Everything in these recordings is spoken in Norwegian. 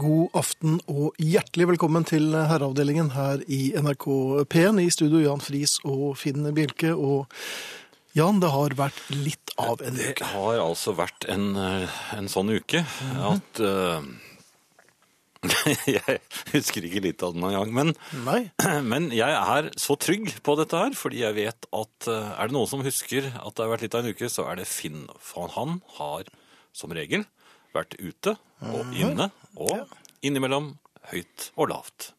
God aften og hjertelig velkommen til Herreavdelingen her i NRK P1. I studio Jan Friis og Finn Bjelke. Og Jan, det har vært litt av en Det uke. Mhm. har altså vært en, eh, en sånn uke at eh, Jeg husker ikke litt av den en gang, men, Nei? men jeg er så trygg på dette her, fordi jeg vet at eh, er det noen som husker at det har vært litt av en uke, så er det Finn. For han har som regel vært ute Mhm. og inne og innimellom høyt og lavt.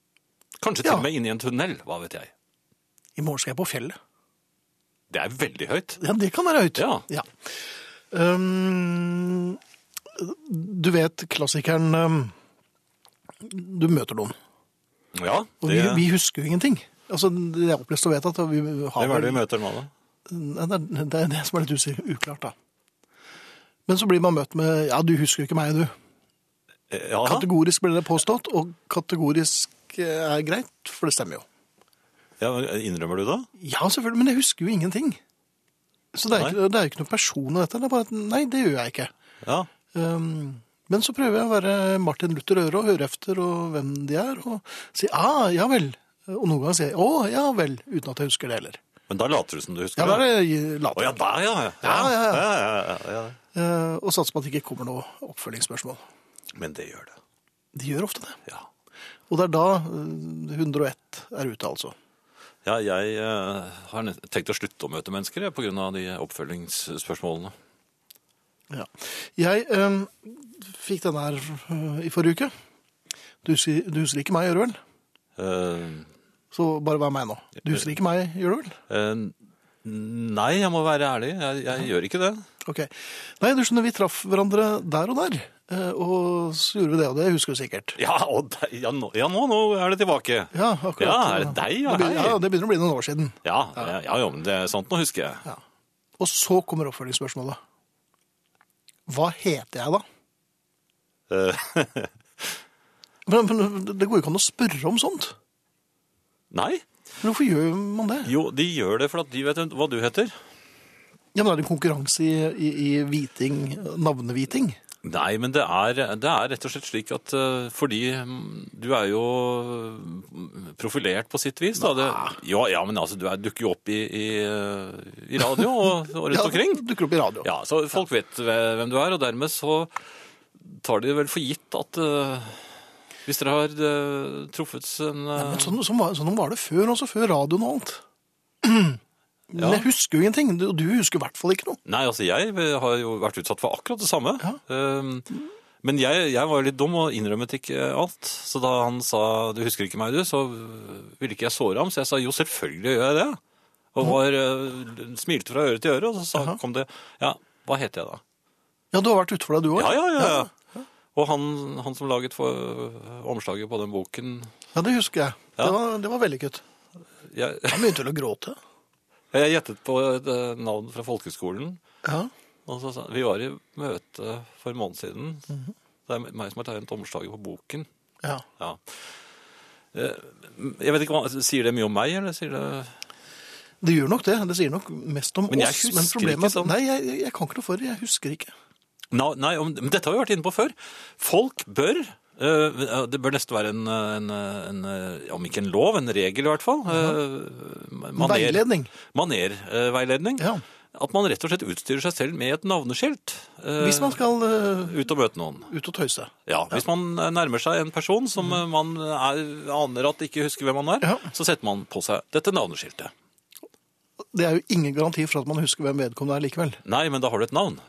Kanskje til Ja. og med inne i en tunnel, hva vet jeg. I morgen skal jeg på fjellet. Det er veldig høyt. Ja, det kan være høyt. Ja. Um, du vet klassikeren um, Du møter noen. Ja, Og det, vi, vi husker jo ingenting. Altså, det er opplest og vedtatt. og vi har det vel- var det vi møter nå, da. Nei, Det er det, er det som er litt usi- uklart, da. Men så blir man møtt med 'ja, du husker jo ikke meg, du'. Eh, Ja, da. Kategorisk blir det påstått, og kategorisk eh, er greit, for det stemmer jo. ja, eh, innrømmer du det? Ja, selvfølgelig, men jeg husker jo ingenting. Så det er, Nei. ikke, det er ikke noe person i dette. Det er bare at nei, det gjør jeg ikke. Ja. Um, men så prøver jeg å være Martin Luther Øre og høre efter og hvem de er, og si ah, ja vel. Og noen ganger sier jeg å, ja vel, uten at jeg husker det heller. Men da later du som du husker Ja, da det. er det Å later. ja, der, ja. Ja, ja, ja. ja, ja, ja. Eh, og satser på at det ikke kommer noe oppfølgingsspørsmål. Men det gjør det. De gjør ofte det. Ja. Og det er da eh, 101 er ute, altså. Ja, jeg eh, har nett- tenkt å slutte å møte mennesker jeg, på grunn av de oppfølgingsspørsmålene. Ja. Jeg øhm, fikk den her øh, i forrige uke. Du, si- du husker ikke meg, gjør du vel? Eh, Så bare vær meg nå. Du husker ikke meg, gjør du vel? eh, nei, jeg må være ærlig. Jeg, jeg gjør ikke det. Ok. Nei, du skjønner, vi traff hverandre der og der. eh, Og så gjorde vi det, og det husker du sikkert. Ja, og de, ja, nå, ja nå, nå er det tilbake. Ja, akkurat. Ja, er det deg, Det ja, begynner, hei. ja, det begynner å bli noen år siden. Ja, ja, ja, ja, men det er sant. Nå husker jeg. Ja. Og så kommer oppfølgingsspørsmålet. Hva heter jeg da? Eh, Men, men det går jo ikke an å spørre om sånt. nei. Men hvorfor gjør man det? Jo, de gjør det for at de vet hva du heter. Ja, men er det en konkurranse i, i, i hviting, navneviting? Nei, men det er, det er rett og slett slik at eh, fordi mm, du er jo mm, profilert på sitt vis, da. Det, Ah. ja, ja, men altså, du er, dukker jo opp i, i, eh, i radio og, og rundt omkring. Ja, dukker opp i radio. Ja, så folk vet hve- hvem du er, og dermed så tar de vel for gitt at eh, hvis dere har eh, truffet en eh, Men sånn, sånn, var, sånn var det før, også før radioen og alt. Men Ja. jeg husker jo ingenting, og du husker i hvert fall ikke noe. Nei, altså jeg har jo vært utsatt for akkurat det samme. Ehm, men jeg, jeg var jo litt dum og innrømmet ikke alt. Så da han sa 'du husker ikke meg, du', så ville ikke jeg såre ham. Så jeg sa 'jo, selvfølgelig gjør jeg det'. Og var, eh, smilte fra øre til øre, og så sa, kom det 'ja, hva heter jeg da'? Ja, du har vært ute for deg, du òg. Ja, ja, ja. ja. Og han, han som laget for, eh, omslaget på den boken Ja, det husker jeg. Det, var, det var vellykket. jeg, Han begynte vel å gråte. jeg gjettet på et eh, navn fra folkehøgskolen. Ja. Og så sa, vi var i møte for en måned siden. Mhm. Det er meg som har tegnet omslaget på boken. ja. Ja. Eh, Jeg vet ikke hva, Sier det mye om meg, eller sier det Det gjør nok det. Det sier nok mest om Men jeg oss. husker problemet er at- ikke sånn. Nei, jeg, jeg- jeg kan ikke noe for det. Jeg husker ikke. Nei, nei, om- men Dette har vi vært inne på før. Folk bør eh, Det bør nesten være en, en, en eh, Om ikke en lov, en regel i hvert fall. eh, maner- Mhm. Veiledning. Manerveiledning. Ja. At man rett og slett utstyrer seg selv med et navneskilt. eh, Hvis man skal eh, Ut og møte noen. ut og tøyse. Ja, Hvis man eh, nærmer seg en person som eh, man er, aner at ikke husker hvem han er, Ja. så setter man på seg dette navneskiltet. Det er jo ingen garanti for at man husker hvem vedkommende er likevel. Nei, men da har du et navn.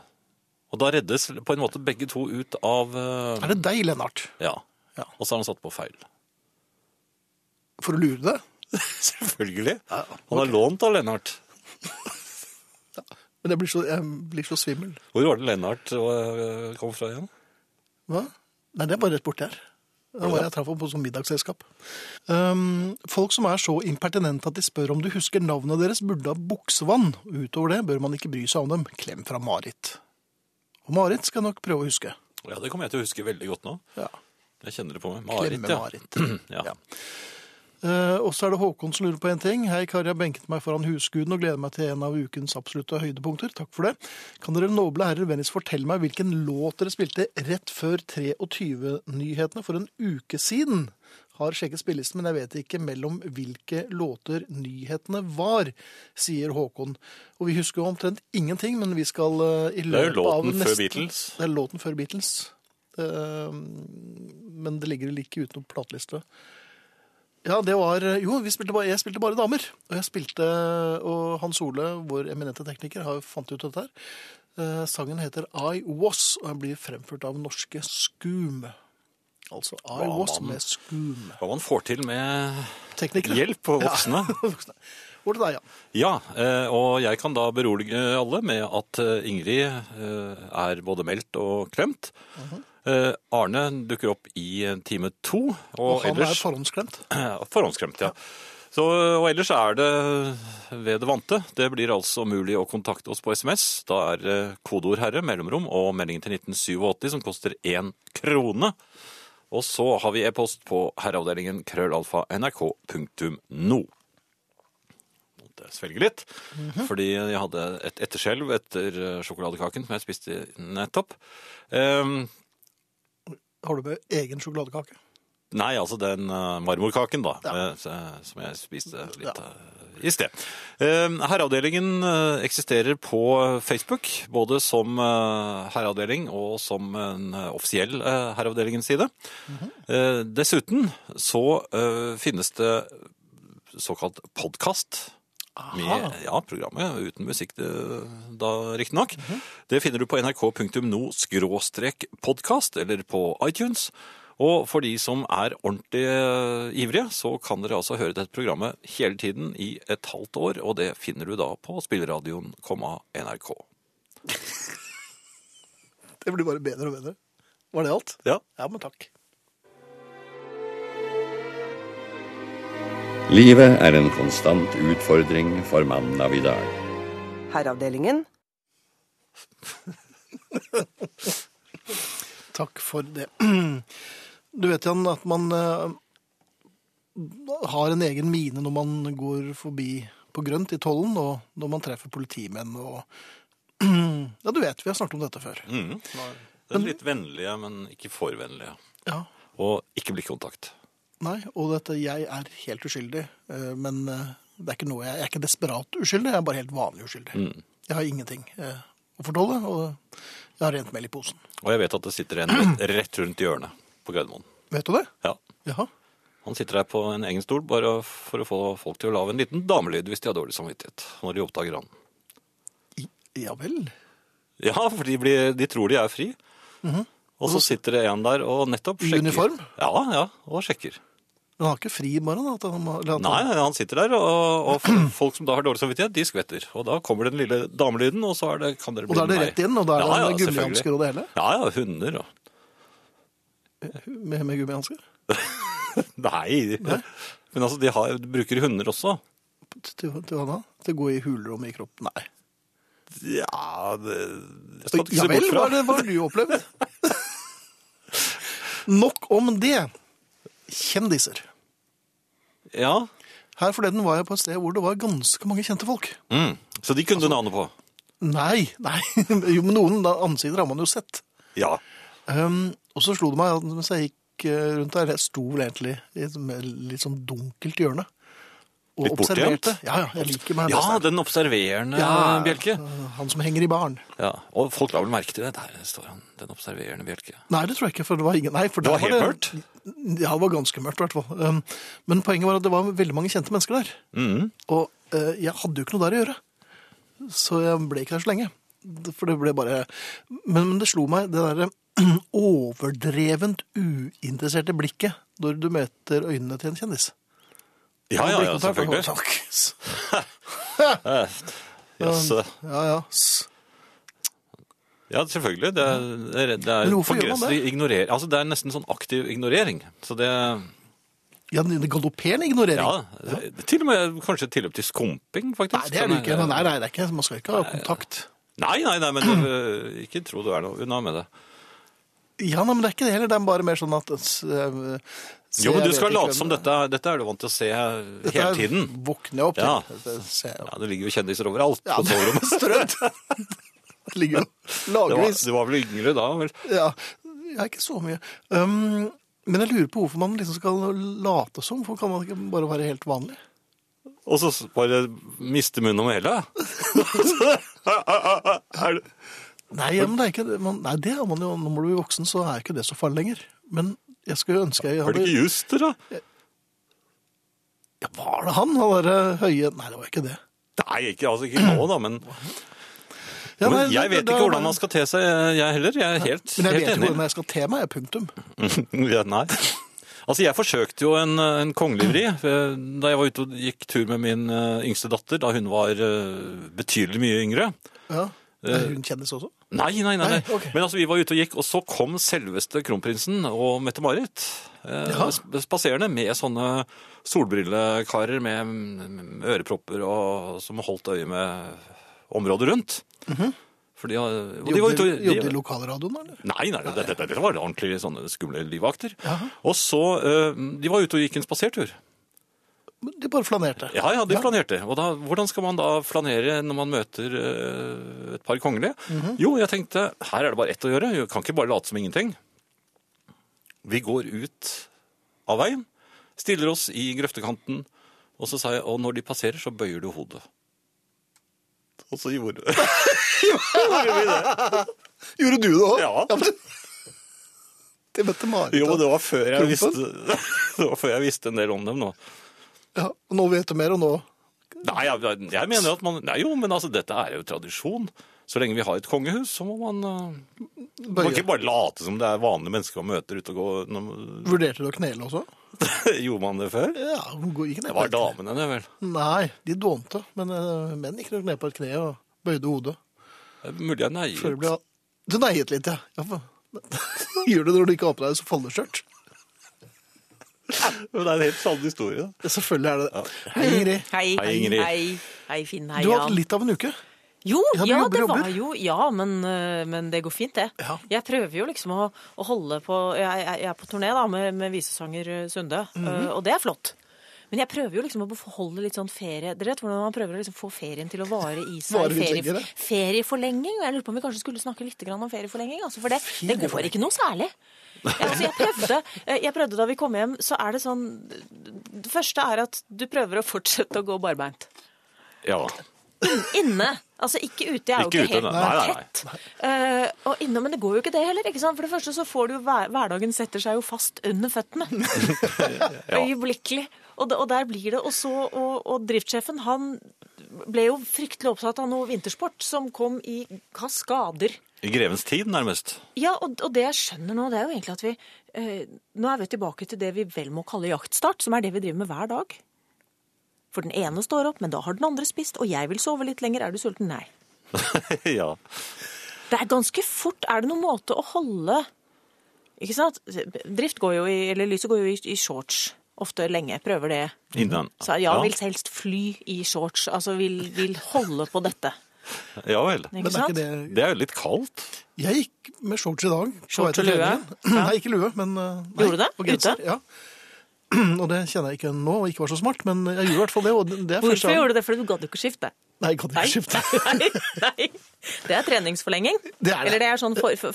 Og da reddes på en måte begge to ut av eh, Er det deg, Lennart? Ja. Ja. Og så har han satt på feil. For å lure deg? Selvfølgelig. Han har lånt av Lennart. Men jeg blir så, jeg blir så svimmel. Hvor var det Lennart eh, kom fra igjen? Hva? Nei, det er bare rett borti her. Det var jeg traff ham på sånn middagsselskap. Um, folk som er så impertinente at de spør om du husker navnet deres, burde ha buksevann. Utover det bør man ikke bry seg om dem. Klem fra Marit. Og Marit skal nok prøve å huske. Ja, Det kommer jeg til å huske veldig godt nå. Ja. Jeg kjenner det på meg. Klemme Marit, ja. Marit. ja. Ja. Eh, og så er det Håkon som lurer på en ting. Hei, Kari, jeg har benket meg foran husguden og gleder meg til en av ukens absolutte høydepunkter. Takk for det. Kan dere noble herrer vennligst fortelle meg hvilken låt dere spilte rett før 23-nyhetene for en uke siden? Har sjekket spillelisten, men jeg vet ikke mellom hvilke låter nyhetene var, sier Håkon. Og vi husker jo omtrent ingenting, men vi skal eh, i Det er jo løpet av låten før neste Beatles. det er låten før Beatles. Eh, Men det ligger like utenom plateliste. Ja, det var eh, Jo, vi spilte bare, jeg spilte bare damer. Og jeg spilte Og Hans Ole, vår eminente tekniker, har jo fant ut dette her. Eh, Sangen heter I Was, og den blir fremført av norske Skum. Altså I Hva Was mann. med Skum. Hva man får til med Teknikere. hjelp og voksne. Voksne. Hvor til deg, ja. Ja, eh, og jeg kan da berolige alle med at eh, Ingrid eh, er både meldt og klemt. Mhm. Eh, Arne dukker opp i eh, time to, og, Og han er ellers forhåndsklemt. Forhåndsklemt, ja. Så, og ellers er det ved det vante. Det blir altså mulig å kontakte oss på SMS. Da er det kodeord 'herre', mellomrom og meldingen til 1987 som koster én krone. Og så har vi e-post på herreavdelingen krøllalfa nrk.no. Måtte jeg svelge litt, fordi jeg hadde et etterskjelv etter eh, sjokoladekaken som jeg spiste nettopp. Ehm, Har du med egen sjokoladekake? Nei, altså den eh, marmorkaken da, eh, s- som jeg spiste litt Ja. eh, i sted. Eh, Herreavdelingen eh, eksisterer på Facebook, både som eh, herreavdeling og som en eh, offisiell eh, herreavdelingens side. Eh, Dessuten så eh, finnes det såkalt podcast med ja, programmet uten musikk, det- da riktignok. Det finner du på nrk.no-podkast eller på iTunes. Og for de som er ordentlig eh, ivrige, så kan dere altså høre dette programmet hele tiden i et halvt år, og det finner du da på spilleradioen, komma, NRK. Det blir bare bedre og bedre. Var det alt? Ja. Ja, men takk. Livet er en konstant utfordring for mannen av i dag. Herreavdelingen. Takk for det. Du vet, Jan, at man eh, har en egen mine når man går forbi på grønt i tollen, og når man treffer politimenn og Ja, du vet, vi har snakket om dette før. Mhm. Den litt vennlige, men ikke for vennlige. Ja. Og ikke blikkontakt. Nei, og dette Jeg er helt uskyldig, eh, men eh, det er ikke noe jeg, jeg er ikke desperat uskyldig, jeg er bare helt vanlig uskyldig. Jeg har ingenting eh, å fortelle, og jeg har rent mel i posen. Og jeg vet at det sitter en rett- rett rundt hjørnet på Gardermoen. Vet du det? Ja. Jaha. Han sitter der på en egen stol bare for å få folk til å lage en liten damelyd hvis de har dårlig samvittighet. Når de oppdager han. I, ja vel. Ja, for de, blir, de tror de er fri. Og så sitter det en der og nettopp Mhm. I sjekker. uniform? Ja, ja, og sjekker. Men han har ikke fri i morgen? da, At han, må- eller at Nei, han, nei, han sitter der, og, og f- folk som da har dårlig samvittighet, de skvetter. Og da kommer den lille damelyden, og så er det, kan dere bli Og da er det med rett inn, og da er det selvfølgelig. gummihansker og det hele? Ja, ja, hunder og med, med gummihansker? Nei. Men altså, de, har, de bruker hunder også. til, til hva da? Til å gå i hulrom i kroppen? Nei. Ja, det, jeg skal ikke Ja se vel, bort hva fra. har det, hva har du opplevd? Nok om det. Kjendiser. Ja, Her forleden var jeg på et sted hvor det var ganske mange kjente folk. mm. Så de kunne du navnet på. Nei, nei. Jo, men noen da- ansikter har man jo sett. Ja. Um, og så slo det meg at mens jeg gikk eh, rundt der, jeg sto vel egentlig i et mer- litt sånn dunkelt hjørne. Og Litt bortgjemt? observerte. Ja, ja, jeg liker meg Ja, best der. den observerende Bjelke. Han som henger i baren. Ja, og folk la vel merke til det. Der står han, den observerende Bjelke. Nei, det tror jeg ikke, for det var ingen... Nei, for Det der var helt mørkt? Ja, det var ganske mørkt i hvert fall. Um, Men poenget var at det var veldig mange kjente mennesker der. Mm. Og eh, jeg hadde jo ikke noe der å gjøre. Så jeg ble ikke der så lenge. For det ble bare... Men, men det slo meg, det der eh, overdrevent uinteresserte blikket når du møter øynene til en kjendis. Ja, ja, ja, Blikkontakt, selvfølgelig. og- Takk. Eh, Yes. eh, Ja, ja. s- Ja, selvfølgelig. Det er, det er, det er Men hvorfor på gjør man grensen det? til ignorer- Altså, det er nesten sånn aktiv ignorering. Så det Ja, den galopperende ignorering. Ja. Til og med kanskje et tilløp til skumping, faktisk. Sånn Nei, det er det jo ikke. Nei, nei, det er ikke. Man skal ikke ha kontakt. Nei, nei, nei, men øh, ikke tro du er noe unna med det. Ja, nei, men det er ikke det heller. Det er bare mer sånn at eh, se, Jo, men jeg du vet ikke skal hvem late som det er. dette, er- dette er du vant til å se Dette hele tiden. våkner jeg opp Ja. til. Dette ser jeg. Ja, Det ligger jo kjendiser overalt Ja, på soverommet. strødd. Ligger jo Det var, lagvis. du var vel yngre da, vel? Ja, jeg er ikke så mye. Um, men jeg lurer på hvorfor man liksom skal late som. Hvorfor kan man ikke bare være helt vanlig? Og så bare miste munnen om hele. er det... Nei, men det er ikke det. Man, nei, det er man jo. Når man blir voksen, så er ikke det så farlig lenger. Men jeg skulle ønske jeg Var det hadde ikke Juster, da? ja, Var det han, han derre høye Nei, det var ikke det. Nei, ikke, altså, ikke nå, da, men, Ja, nei, men jeg det- vet det- ikke hvordan man skal te seg, jeg heller. Jeg er helt, Men jeg vet helt jo enig. hvordan jeg skal te meg, jeg, punktum. ja, nei. Altså, jeg forsøkte jo en, en kongelig vri eh, da jeg var ute og gikk tur med min eh, yngste datter da hun var eh, betydelig mye yngre. Eh, Ja. Er hun kjendis også? Nei, nei, nei. nei. Nei, ok. Men altså, vi var ute og gikk, og så kom selveste kronprinsen og Mette-Marit eh, Ja. sp- spaserende med sånne solbrillekarer med mm, ørepropper og, som holdt øye med området rundt. Mhm. For de, har- og de var ute Jobber og... de- jobber i lokalradioen, eller? Nei, nei, det, det, det var ordentlig sånne skumle livvakter. Og så, eh, de var ute og gikk en spasertur. Men De bare flanerte. Ja, ja, de flanerte. Og da, hvordan skal man da flanere når man møter eh, et par kongelige? Jo, jeg tenkte, her er det bare ett å gjøre. Jeg kan ikke bare late som ingenting. Vi går ut av veien, stiller oss i grøftekanten, og så sa jeg, og når de passerer, så bøyer du hodet. Og så gjorde gjorde vi det. Gjorde du det òg? Ja. men... Det møtte Marit. Jo, da. men det var før jeg Klumpen? visste, det var før jeg visste en del om dem nå. Ja, og nå vet du mer, og nå Nei, jeg, jeg mener at man Nei, jo, men altså, dette er jo tradisjon. Så lenge vi har et kongehus, så må man eh, Man kan bøyer. ikke bare late som det er vanlige mennesker man møter ute og går når- Vurderte du å knele også? Gjorde man det før? Ja, hun går- gikk ned Det på var et kne. damene, det vel. Nei, de dånte, men eh, menn gikk nok ned på et kne og bøyde hodet. Det er Mulig jeg neier. Før det ble... Du neiet litt, ja. ja for... Gjør du det når du ikke har på deg så foldeskjørt? Men det er en helt sann historie. da. Ja, selvfølgelig er det det. Hei, Ingrid. Hei, Hei, Ingrid. Hei, hei Finn. Hei, Du har hatt Jan. litt av en uke. Jo, Ja, ja, du jobber, det jobber. var jo Ja, men, øh, men det går fint, det. Ja. Jeg prøver jo liksom å, å holde på jeg, jeg jeg er på turné da, med, med visesanger øh, Sunde, Mhm. øh, og det er flott. Men jeg prøver jo liksom å beholde litt sånn ferie Dere vet hvordan man prøver å liksom få ferien til å vare i seg? Vare litt ferie, lenger, ferieforlenging. og Jeg lurer på om vi kanskje skulle snakke litt grann om ferieforlenging, altså, for det, det går ikke noe særlig. Ja, altså, jeg, prøvde, jeg prøvde da vi kom hjem, så er det sånn Det første er at du prøver å fortsette å gå barbeint. Ja. Inne. Altså ikke ute, jeg er jo Ikke ikke, ute, helt nei, nei, nei. tett. Eh, og inne, men det går jo ikke det heller. ikke sant? For det første så får du jo hver, hverdagen setter seg jo fast under føttene. Øyeblikkelig. Og, da- og der blir det. Og så, og, og driftssjefen han ble jo fryktelig opptatt av noe vintersport som kom i kaskader. I grevens tid, nærmest. Ja, og, og det jeg skjønner nå, det er jo egentlig at vi eh, Nå er vi tilbake til det vi vel må kalle jaktstart, som er det vi driver med hver dag. For den ene står opp, men da har den andre spist, og jeg vil sove litt lenger. Er du sulten? Nei. ja. Det er ganske fort. Er det noen måte å holde Ikke sant? Drift går jo i Eller lyset går jo i, i shorts. Ofte lenge. Prøver det. Innen. Så ja, vil helst fly i shorts. Altså vil, vil holde på dette. ja vel. Ikke Men er sant? ikke det... Det er jo litt kaldt. Jeg gikk med shorts i dag. på Shorts vei til og lue? treningen. Nei, ikke lue, men eh, nei, Gjorde du det? og genser, Ute? Ja. Og det kjenner jeg ikke nå, og ikke var så smart, men jeg gjorde i hvert fall det. Og det- det er første Hvorfor gang- gjorde du det? Fordi du gadd jo ikke skifte? Nei, jeg kan Nei. ikke skifte. Nei, nei. Det er treningsforlenging. Det er det. Eller det er sånn for, for,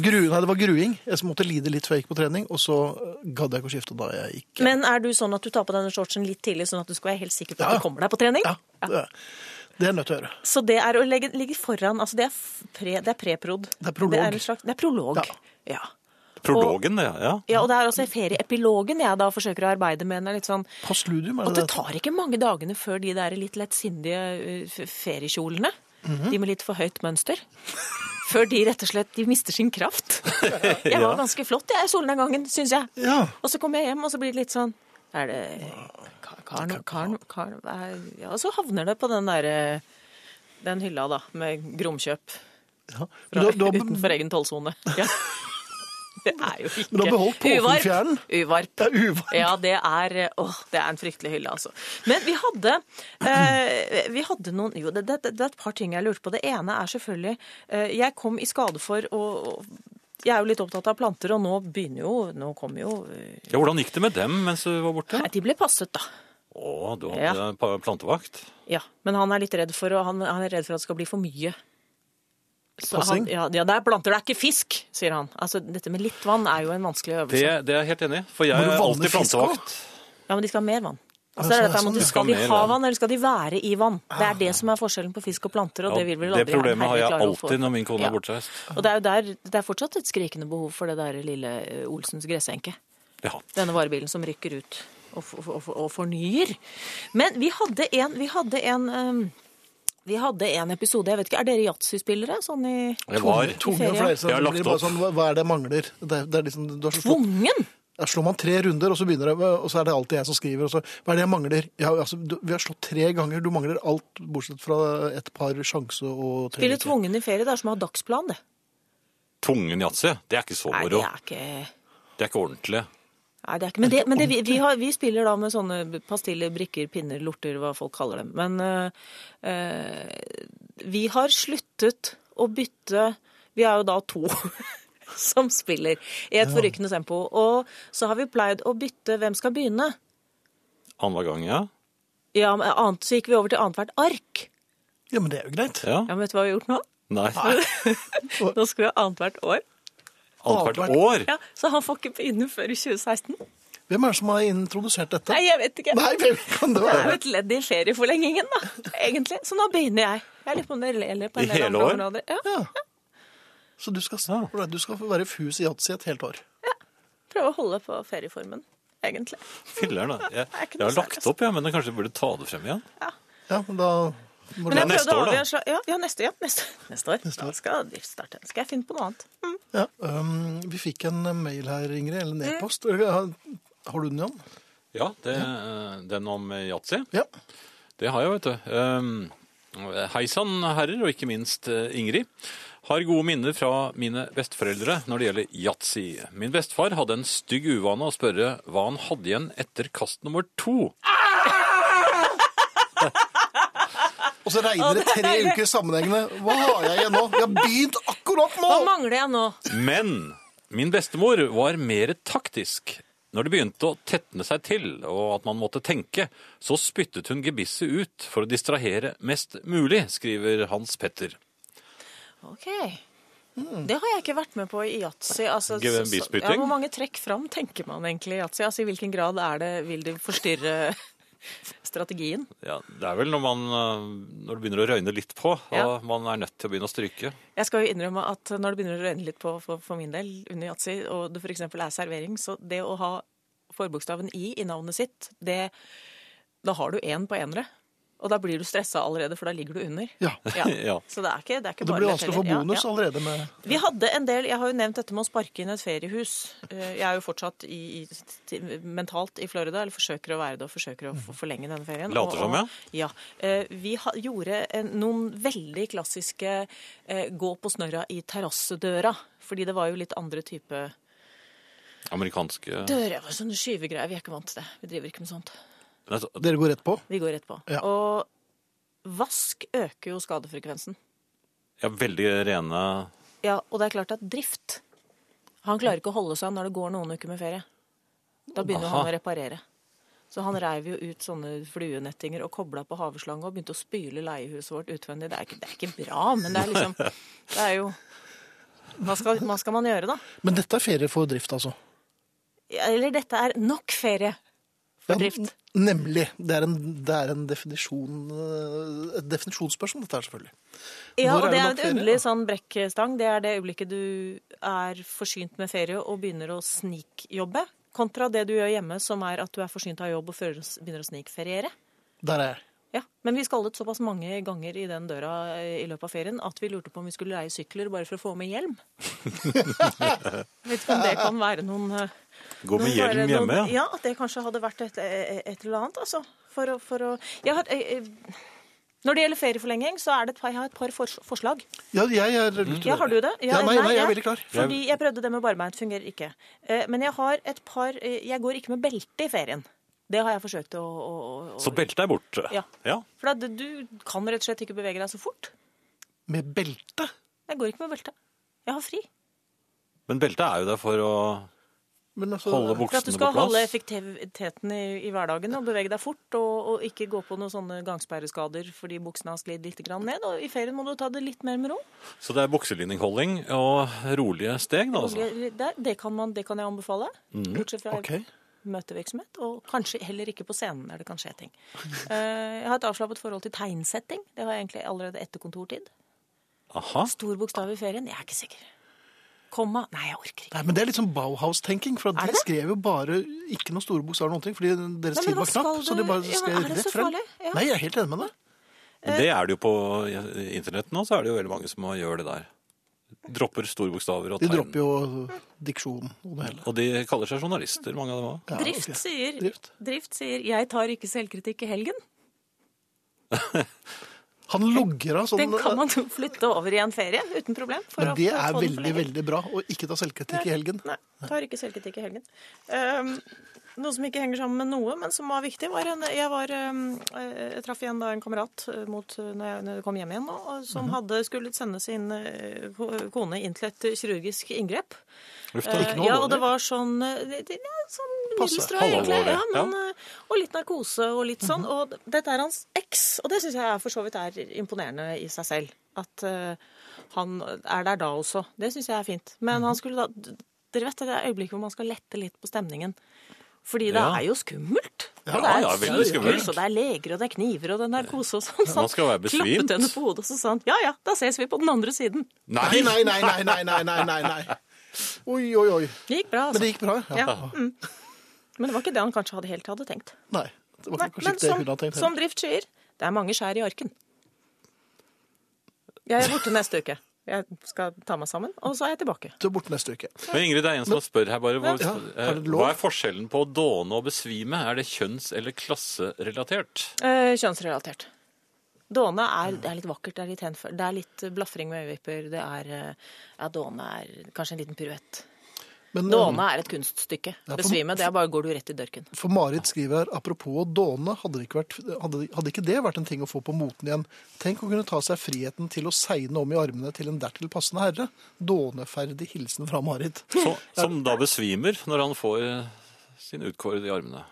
Gru, nei, det var gruing. Jeg som måtte lide litt før jeg gikk på trening, og så eh, gadd jeg ikke å skifte da jeg gikk. Men er du sånn at du tar på denne shortsen litt tidlig, sånn at du skal være helt sikker på at Ja. du kommer deg på trening? Ja, det er- det er jeg nødt til å gjøre. Så det er å legge, ligge foran Altså det er f- pre- det er preprod. Det er prolog. Det er, en slags, det er prolog. Ja. Ja. ja. Prologen, det. Ja. og det er også ferieepilogen jeg da forsøker å arbeide med. den er Litt sånn, Postludium, er at det det? det tar ikke mange dagene før de der litt lettsindige eh, f- feriekjolene, de med litt for høyt mønster, før de rett og slett de mister sin kraft. Jeg var ganske flott jeg, solnedgangen, syns jeg. Ja. Og så kommer jeg hjem, og så blir det litt sånn Er det Kar- Karen, Karen, Karen er- Ja, og så havner det på den derre den hylla, da, med gromkjøp ja. Men fra, Du, har- du, har, utenfor egen tollsone. Ja. Det er jo Men ikke du har beholdt Uvarp. påfuglfjæren. Uvarp. Det er uvarp. Ja, det er Åh, det er en fryktelig hylle, altså. Men vi hadde eh, Vi hadde noen Jo, det, det, det er et par ting jeg lurte på. Det ene er selvfølgelig eh, Jeg kom i skade for å å jeg er jo litt opptatt av planter, og nå begynner jo Nå kommer jo eh, Ja, Hvordan gikk det med dem mens du var borte? Nei, de ble passet, da. Å, du hadde pa- plantevakt? Ja, men han er litt redd for, å- han, han er redd for at det skal bli for mye. Så Passing? Han, ja, ja, det er planter, det er ikke fisk, sier han. Altså, Dette med litt vann er jo en vanskelig Det, øvelse. det er jeg helt enig i. For jeg Må du er vanne alltid fisk plantevakt. Ja, Men de skal ha mer vann. Ja, Altså, det sånn er er dette, sånn, med at ja. du skal De de skal ha ha mer vann. Ah. vann, eller skal de være i vann? Det er det som er forskjellen på fisk og planter, og det vil vel Ja, aldri det problemet har jeg herre klare å få. alltid når min kone Ja. er bortreist. Og det er jo der, det er fortsatt et skrikende behov for det der lille eh, Olsens gressenke. Ja. Denne varebilen som rykker ut og, f- og, f- og fornyer. Men vi hadde en, vi hadde en ehm, vi hadde en episode, jeg vet ikke, Er dere yatzyspillere? Sånn i Jeg var. Tunge og ferie. fleisa. Jeg har Det lagt blir bare opp. sånn, hva- hva er det jeg mangler? Det er, det er liksom, du har så slått, Tvungen! Ja, slår man tre runder, og så, begynner det, og så er det alltid jeg som skriver. Og så, hva er det jeg mangler? Ja, altså, du, vi har slått tre ganger. Du mangler alt, bortsett fra et par sjanse og tre Spille returer. tvungen i ferie, det er som å ha dagsplan, det. Tungen yatzy, det er ikke så Nei, det moro. er ikke Det er ikke ordentlig. Nei, det er ikke, men det, men det, vi, vi, har, vi spiller da med sånne pastiller, brikker, pinner, lorter, hva folk kaller dem. Men øh, øh, vi har sluttet å bytte Vi er jo da to som spiller i et forrykende tempo. Og så har vi pleid å bytte hvem skal begynne. Annenhver gang, ja. Ja, men annet, Så gikk vi over til annethvert ark. Ja, men det er jo greit. ja. Ja, men Vet du hva vi har gjort nå? Nei. Nå skal vi ha annethvert år. Annethvert år. Ja, Så han får ikke begynne før i 2016. Hvem er det som har introdusert dette? Nei, jeg vet ikke. Nei, hvem kan det Det er jo være? et ledd i ferieforlengingen, da, egentlig. Så nå begynner jeg. Jeg lurer på om dere gjelder på en I del hele andre år? områder. Ja, Ja. Så du skal, du skal få være fus i yatzy et helt år. prøve å holde på ferieformen, egentlig. Filler'n, da. Jeg, er ikke jeg har lagt noe særlig. altså. opp, jeg, men jeg kanskje burde ta det frem igjen. Ja, men da må Men du jeg Ja, neste år, prøvde å da. avgjøre Ja, ja, neste, ja, neste, neste år. Neste år. Da skal driftsstarte. Skal jeg finne på noe annet? Mm. ja. um, Vi fikk en mail her, Ingrid, eller en e-post. Ja, Har du den, Jan? Ja, det, eh, Den om eh, yatzy. Ja. Det har jeg, vet du. Um, Hei sann, herrer, og ikke minst eh, Ingrid. Har gode minner fra mine besteforeldre når det gjelder yatzy. Min bestefar hadde en stygg uvane å spørre hva han hadde igjen etter kast nummer to. Og så regner det tre uker sammenhengende. Hva har jeg igjen nå? Jeg har begynt akkurat nå! Hva mangler jeg nå? Men min bestemor var mer taktisk. Når det begynte å tetne seg til, og at man måtte tenke, så spyttet hun gebisset ut for å distrahere mest mulig, skriver Hans Petter. OK. Hmm. Det har jeg ikke vært med på i yatzy. Altså, så- så- Gevinstbytting? ja, hvor mange trekk fram tenker man egentlig i yatzy? Altså, I hvilken grad er det, vil det forstyrre strategien? Ja, det er vel når, man, øh, når det begynner å røyne litt på, og Ja. man er nødt til å begynne å stryke. Jeg skal jo innrømme at når det begynner å røyne litt på for, for min del under yatzy, og det f.eks. er servering, så det å ha forbokstaven i i navnet sitt, det Da har du én på enere. Og da blir du stressa allerede, for da ligger du under. Ja. Ja. Så det er ikke, det er ikke Og det bare blir lett vanskelig å få heller. Ja, bonus ja. allerede med Vi hadde en del, Jeg har jo nevnt dette med å sparke inn et feriehus. Eh, Jeg er jo fortsatt i, i, til- mentalt i Florida, eller forsøker å være det og forsøker å f- forlenge denne ferien. Later som, ja. og, ja. Eh, Vi ha, gjorde en, noen veldig klassiske eh, gå på snørra i terrassedøra. Fordi det var jo litt andre type Amerikanske dører. Det var Sånne skyvegreier. Vi er ikke vant til det. Vi driver ikke med sånt. Nei, så- Dere går rett på. Vi går rett på. Ja. Og vask øker jo skadefrekvensen. Ja, veldig rene Ja, og det er klart at drift Han klarer ikke å holde seg når det går noen uker med ferie. Da begynner Aha. han å reparere. Så han reiv jo ut sånne fluenettinger og kobla på haveslange og begynte å spyle leiehuset vårt utvendig. Det er ikke, det er ikke bra, men det er liksom Det er jo hva skal, hva skal man gjøre, da? Men dette er ferie for drift, altså. Ja, Eller dette er nok ferie for drift. Ja, nemlig. Det er en, det er en definisjon, eh, et definisjonsspørsmål, dette her selvfølgelig. Ja, Når og er det det er nok et ferie, underlig sånn brekkstang. Det er det øyeblikket du er forsynt med ferie og begynner å snikjobbe, kontra det du gjør hjemme, som er at du er forsynt av jobb og fører- begynner å snikferiere. Der er jeg. Ja, Men vi skallet såpass mange ganger i den døra eh, i løpet av ferien at vi lurte på om vi skulle leie sykler bare for å få med hjelm. Jeg vet ikke om det kan være noen eh, Gå med noen bare hjelm hjemme, noen- ja. Ja, at det kanskje hadde vært et, et eller annet, altså. For å, for å jeg har, eh, eh, Når det gjelder ferieforlenging, så er det et par, jeg har et par fors- forslag. Ja, jeg er litt Ja, Mm. har du det? Ja, nei, nei, jeg er ja. veldig klar. Fordi jeg prøvde det med barbeint, fungerer ikke. Eh, Men jeg har et par eh, Jeg går ikke med belte i ferien. Det har jeg forsøkt å, å, å- å Så beltet er borte. Ja. ja. for at du kan rett og slett ikke bevege deg så fort. Med belte? Jeg går ikke med belte. Jeg har fri. Men beltet er jo der for å Men altså, holde For at du buksene på skal holde plass. effektiviteten i, i hverdagen og bevege deg fort, og, og ikke gå på noen sånne gangsperreskader fordi buksene har sklidd litt grann ned. Og i ferien må du ta det litt mer med ro. Så det er bukselinjeholding og rolige steg, da altså. Rolig- Det, det, kan man, det kan jeg anbefale. Bortsett fra Mm. Ok. møtevirksomhet, og kanskje heller ikke på scenen der det kan skje ting. Eh, Jeg har et avslappet forhold til tegnsetting. Det har jeg egentlig allerede etter kontortid. Aha. Stor bokstav i ferien? Jeg er ikke sikker. Komma? Nei, jeg orker ikke. Nei, men Det er litt sånn Bauhaus-tenking. for at Er det De det? skrev jo bare ikke noen store bokstaver, eller noen ting, fordi deres tid Nei, men hva var knapp. skal så du- de bare Ja, men skrev er det rett så frem. farlig? Ja. Nei, jeg er helt enig med deg. Eh, Men det er det jo på internett nå, så er det jo veldig mange som gjør det der. Dropper store bokstaver og De tegn. dropper jo diksjon og det hele. Og de kaller seg journalister, mange av dem òg. Ja, Drift ok. sier, Drift. drift sier 'jeg tar ikke selvkritikk i helgen'. Han logger av sånn Den kan man jo flytte over i en ferie uten problem. for å Men det få- er få den veldig, forlenget. veldig bra å ikke ta selvkritikk i helgen. Nei, tar ikke selvkritikk i helgen. Ehm, noe som ikke henger sammen med noe, men som var viktig, var en Jeg, var, ehm, eh, jeg traff igjen da en kamerat eh, mot, eh, når jeg, når jeg kom hjem igjen nå, og som Mhm. hadde skulle sende sin eh, ko- kone inn til et kirurgisk inngrep. Eh, ja, og det var sånn, eh, det, det, ja, sånn Passe, middels drøy, egentlig. halvalvorlig, Ja, men, ja. eh, Og litt narkose og litt sånn. Og dette er hans eks, og det syns jeg er for så vidt er imponerende i seg selv. At eh, han er der da også. Det syns jeg er fint. Mhm. Men han skulle da d- Dere vet det der øyeblikket hvor man skal lette litt på stemningen. Fordi det Ja. er jo skummelt. Ja, og det er ja, veldig skummelt. sykehus, og det er leger, og det er kniver, og det er narkose og sånn. Man skal være besvimt. Klappet henne på hodet, og så sa han ja ja, da ses vi på den andre siden. Nei, nei, nei, nei, nei, nei, nei, nei, nei. Oi, oi, oi. Det gikk bra, altså. Men det gikk bra. Ja. Ja, mm. Men det var ikke det han kanskje hadde helt hadde tenkt. Nei, det var Nei, kanskje men ikke det som, hun hadde tenkt. som heller. Drift sier, det er mange skjær i arken. Jeg er borte neste uke. Jeg skal ta meg sammen, og så er jeg tilbake. Du er borte neste uke. Men Ingrid, det er en som spør her bare. Hva, Ja, har du eh, lov? hva er forskjellen på å dåne og besvime? Er det kjønns- eller klasserelatert? Eh, kjønnsrelatert. Dåne er, det er litt vakkert, det er litt, henfør, det er litt eh, blafring med øyevipper. Det er eh, Ja, dåne er kanskje en liten piruett. Men Dåne er et kunststykke. Mm. Ja, for- Besvime, det er bare går du rett i dørken. eh, for Marit skriver her apropos å dåne, hadde, det ikke vært, hadde, hadde ikke det vært en ting å få på moten igjen? Tenk å kunne ta seg friheten til å segne om i armene til en dertil passende herre. Dåneferdig hilsen fra Marit. Så, som da besvimer når han får eh, sin utkårede i armene.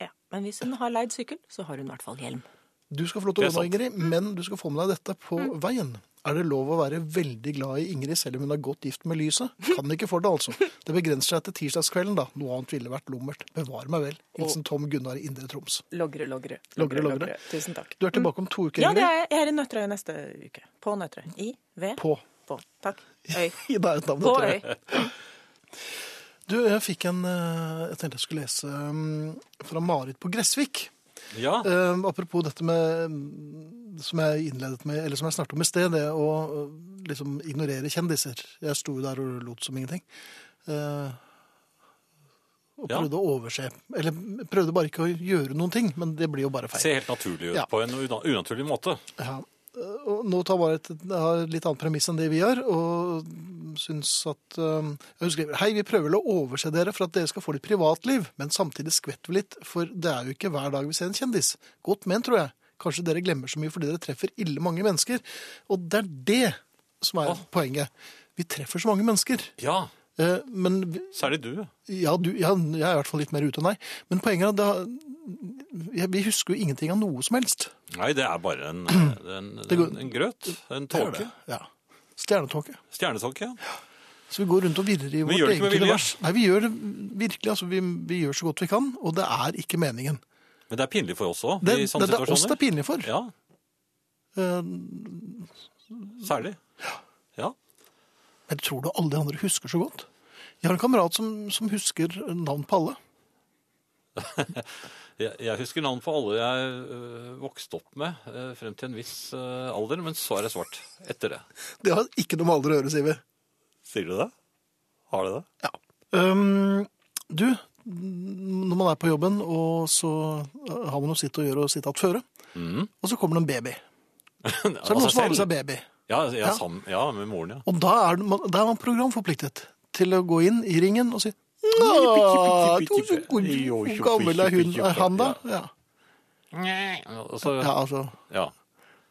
Ja. Men hvis hun har leid sykkel, så har hun i hvert fall hjelm. Du skal få lov til Det å er gå nå, Ingrid, men du skal få med deg dette på Mm. veien. Er det lov å være veldig glad i Ingrid selv om hun er godt gift med lyset? Kan ikke for det, altså. Det begrenser seg til tirsdagskvelden, da. Noe annet ville vært lummert. Bevar meg vel. Hilsen Tom Gunnar i Indre Troms. Logre, logre. Logre, logre. Tusen takk. Du er tilbake om to uker, Ja, det Ingrid. er jeg. Jeg er i Nøtterøy neste uke. På Nøtterøy. I, ved, På. på. Takk. Øy. I det er et navn, På dette. øy. Du, jeg fikk en eh, Jeg tenkte jeg skulle lese mm, fra Marit på Gressvik. Ja, Eh, apropos dette med mm, som jeg innledet med, eller som jeg snakket om i sted, det å eh, liksom ignorere kjendiser. Jeg sto jo der og lot som ingenting. Eh, og Ja. prøvde å overse. Eller prøvde bare ikke å gjøre noen ting, men det blir jo bare feil. ser helt naturlig ut Ja. på en una- unaturlig måte. Ja. Og nå tar bare et har litt annet premiss enn det vi gjør, og syns at eh, Hun skriver Hei, vi prøver vel å overse dere for at dere skal få litt privatliv, men samtidig skvetter vi litt, for det er jo ikke hver dag vi ser en kjendis. Godt ment, tror jeg. Kanskje dere glemmer så mye fordi dere treffer ille mange mennesker. Og det er det som er poenget. Vi treffer så mange mennesker. Ja, Eh, Men vi- særlig du. ja, du, ja, jeg er i hvert fall litt mer ute enn deg. Men poenget er at da, jeg- vi husker jo ingenting av noe som helst. Nei, det er bare en, eh, en, en, går- en grøt. En tåke. Ja. Stjernetåke. Stjernetåke. ja. Så vi går rundt og virrer i vårt gjør det ikke med eget vilje. univers. Nei, vi gjør det virkelig. Altså, vi, vi gjør så godt vi kan, og det er ikke meningen. Men det er pinlig for oss òg. Det, det, det er oss det er pinlig for. Ja, Eh, særlig. Ja. Men tror du alle de andre husker så godt? Jeg har en kamerat som, som husker navn på alle. Jeg, jeg husker navn på alle jeg øh, vokste opp med øh, frem til en viss øh, alder, men så er det svart etter det. Det har ikke noe med alder å gjøre, sier vi. Sier du det? Har du det? Ja. Ehm, du, når man er på jobben, og så har man jo sitt å gjøre og sitt att føre, Mhm. og så kommer det en baby. Så er det noen som har med seg baby. altså Ja, Ja. ja, Sammen, ja, med moren, ja. Og da er, man, da er man programforpliktet til å gå inn i ringen og si «Nå, pikke, pikke, pikke. Hvor Jo, hvor tjo, gammel er hun? pikke, Er han, da? Ja. Og så, ja, altså. ja.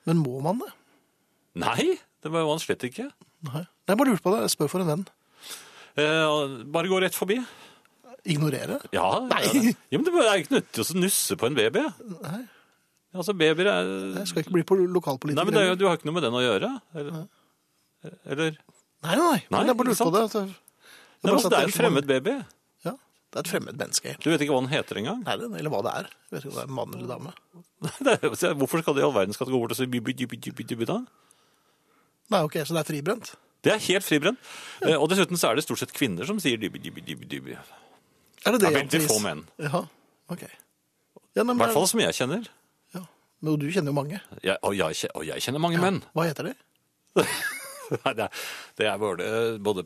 Men må man det? Nei, det var jo han slett ikke. Nei. Jeg bare lurte på det. Jeg spør for en venn. Eh, bare gå rett forbi. Ignorere? Ja, ja, det. ja men det er ikke nødt til å nusse på en baby. Nei. Altså, babyer er Jeg skal ikke bli pol- lokalpolitiker. Nei, men det, er jo- heller. du har ikke noe med den å gjøre. Eller? eller? nei, nei, nei. Nei, men jeg bare lurte ikke på sant? det. at jeg- jeg Nei, bare altså, satt det der er en som en- fremmed baby. Ja, det er et fremmed menneske. helt. Du vet ikke hva den heter engang. Nei, det- eller hva det er. Jeg vet ikke om det er en mann eller dame. Det er- så Hvorfor skal det i all verden skal det gå bort og si bibi, bibi, bibi, bibi, da? Nei, ok, så det er fribrent. Det er helt fribrent. Eh, Og dessuten så er det stort sett kvinner som sier dibi, dibi, dibi, dibi. I Er det det? Det er veldig Jan Friis? få menn. Ja, ok. Ja, nei, men, hvert fall som jeg kjenner. Ja. Men du kjenner jo mange. Jeg, og, jeg, kje- og jeg kjenner mange menn. Hva heter de? Nei, det er, det er både, både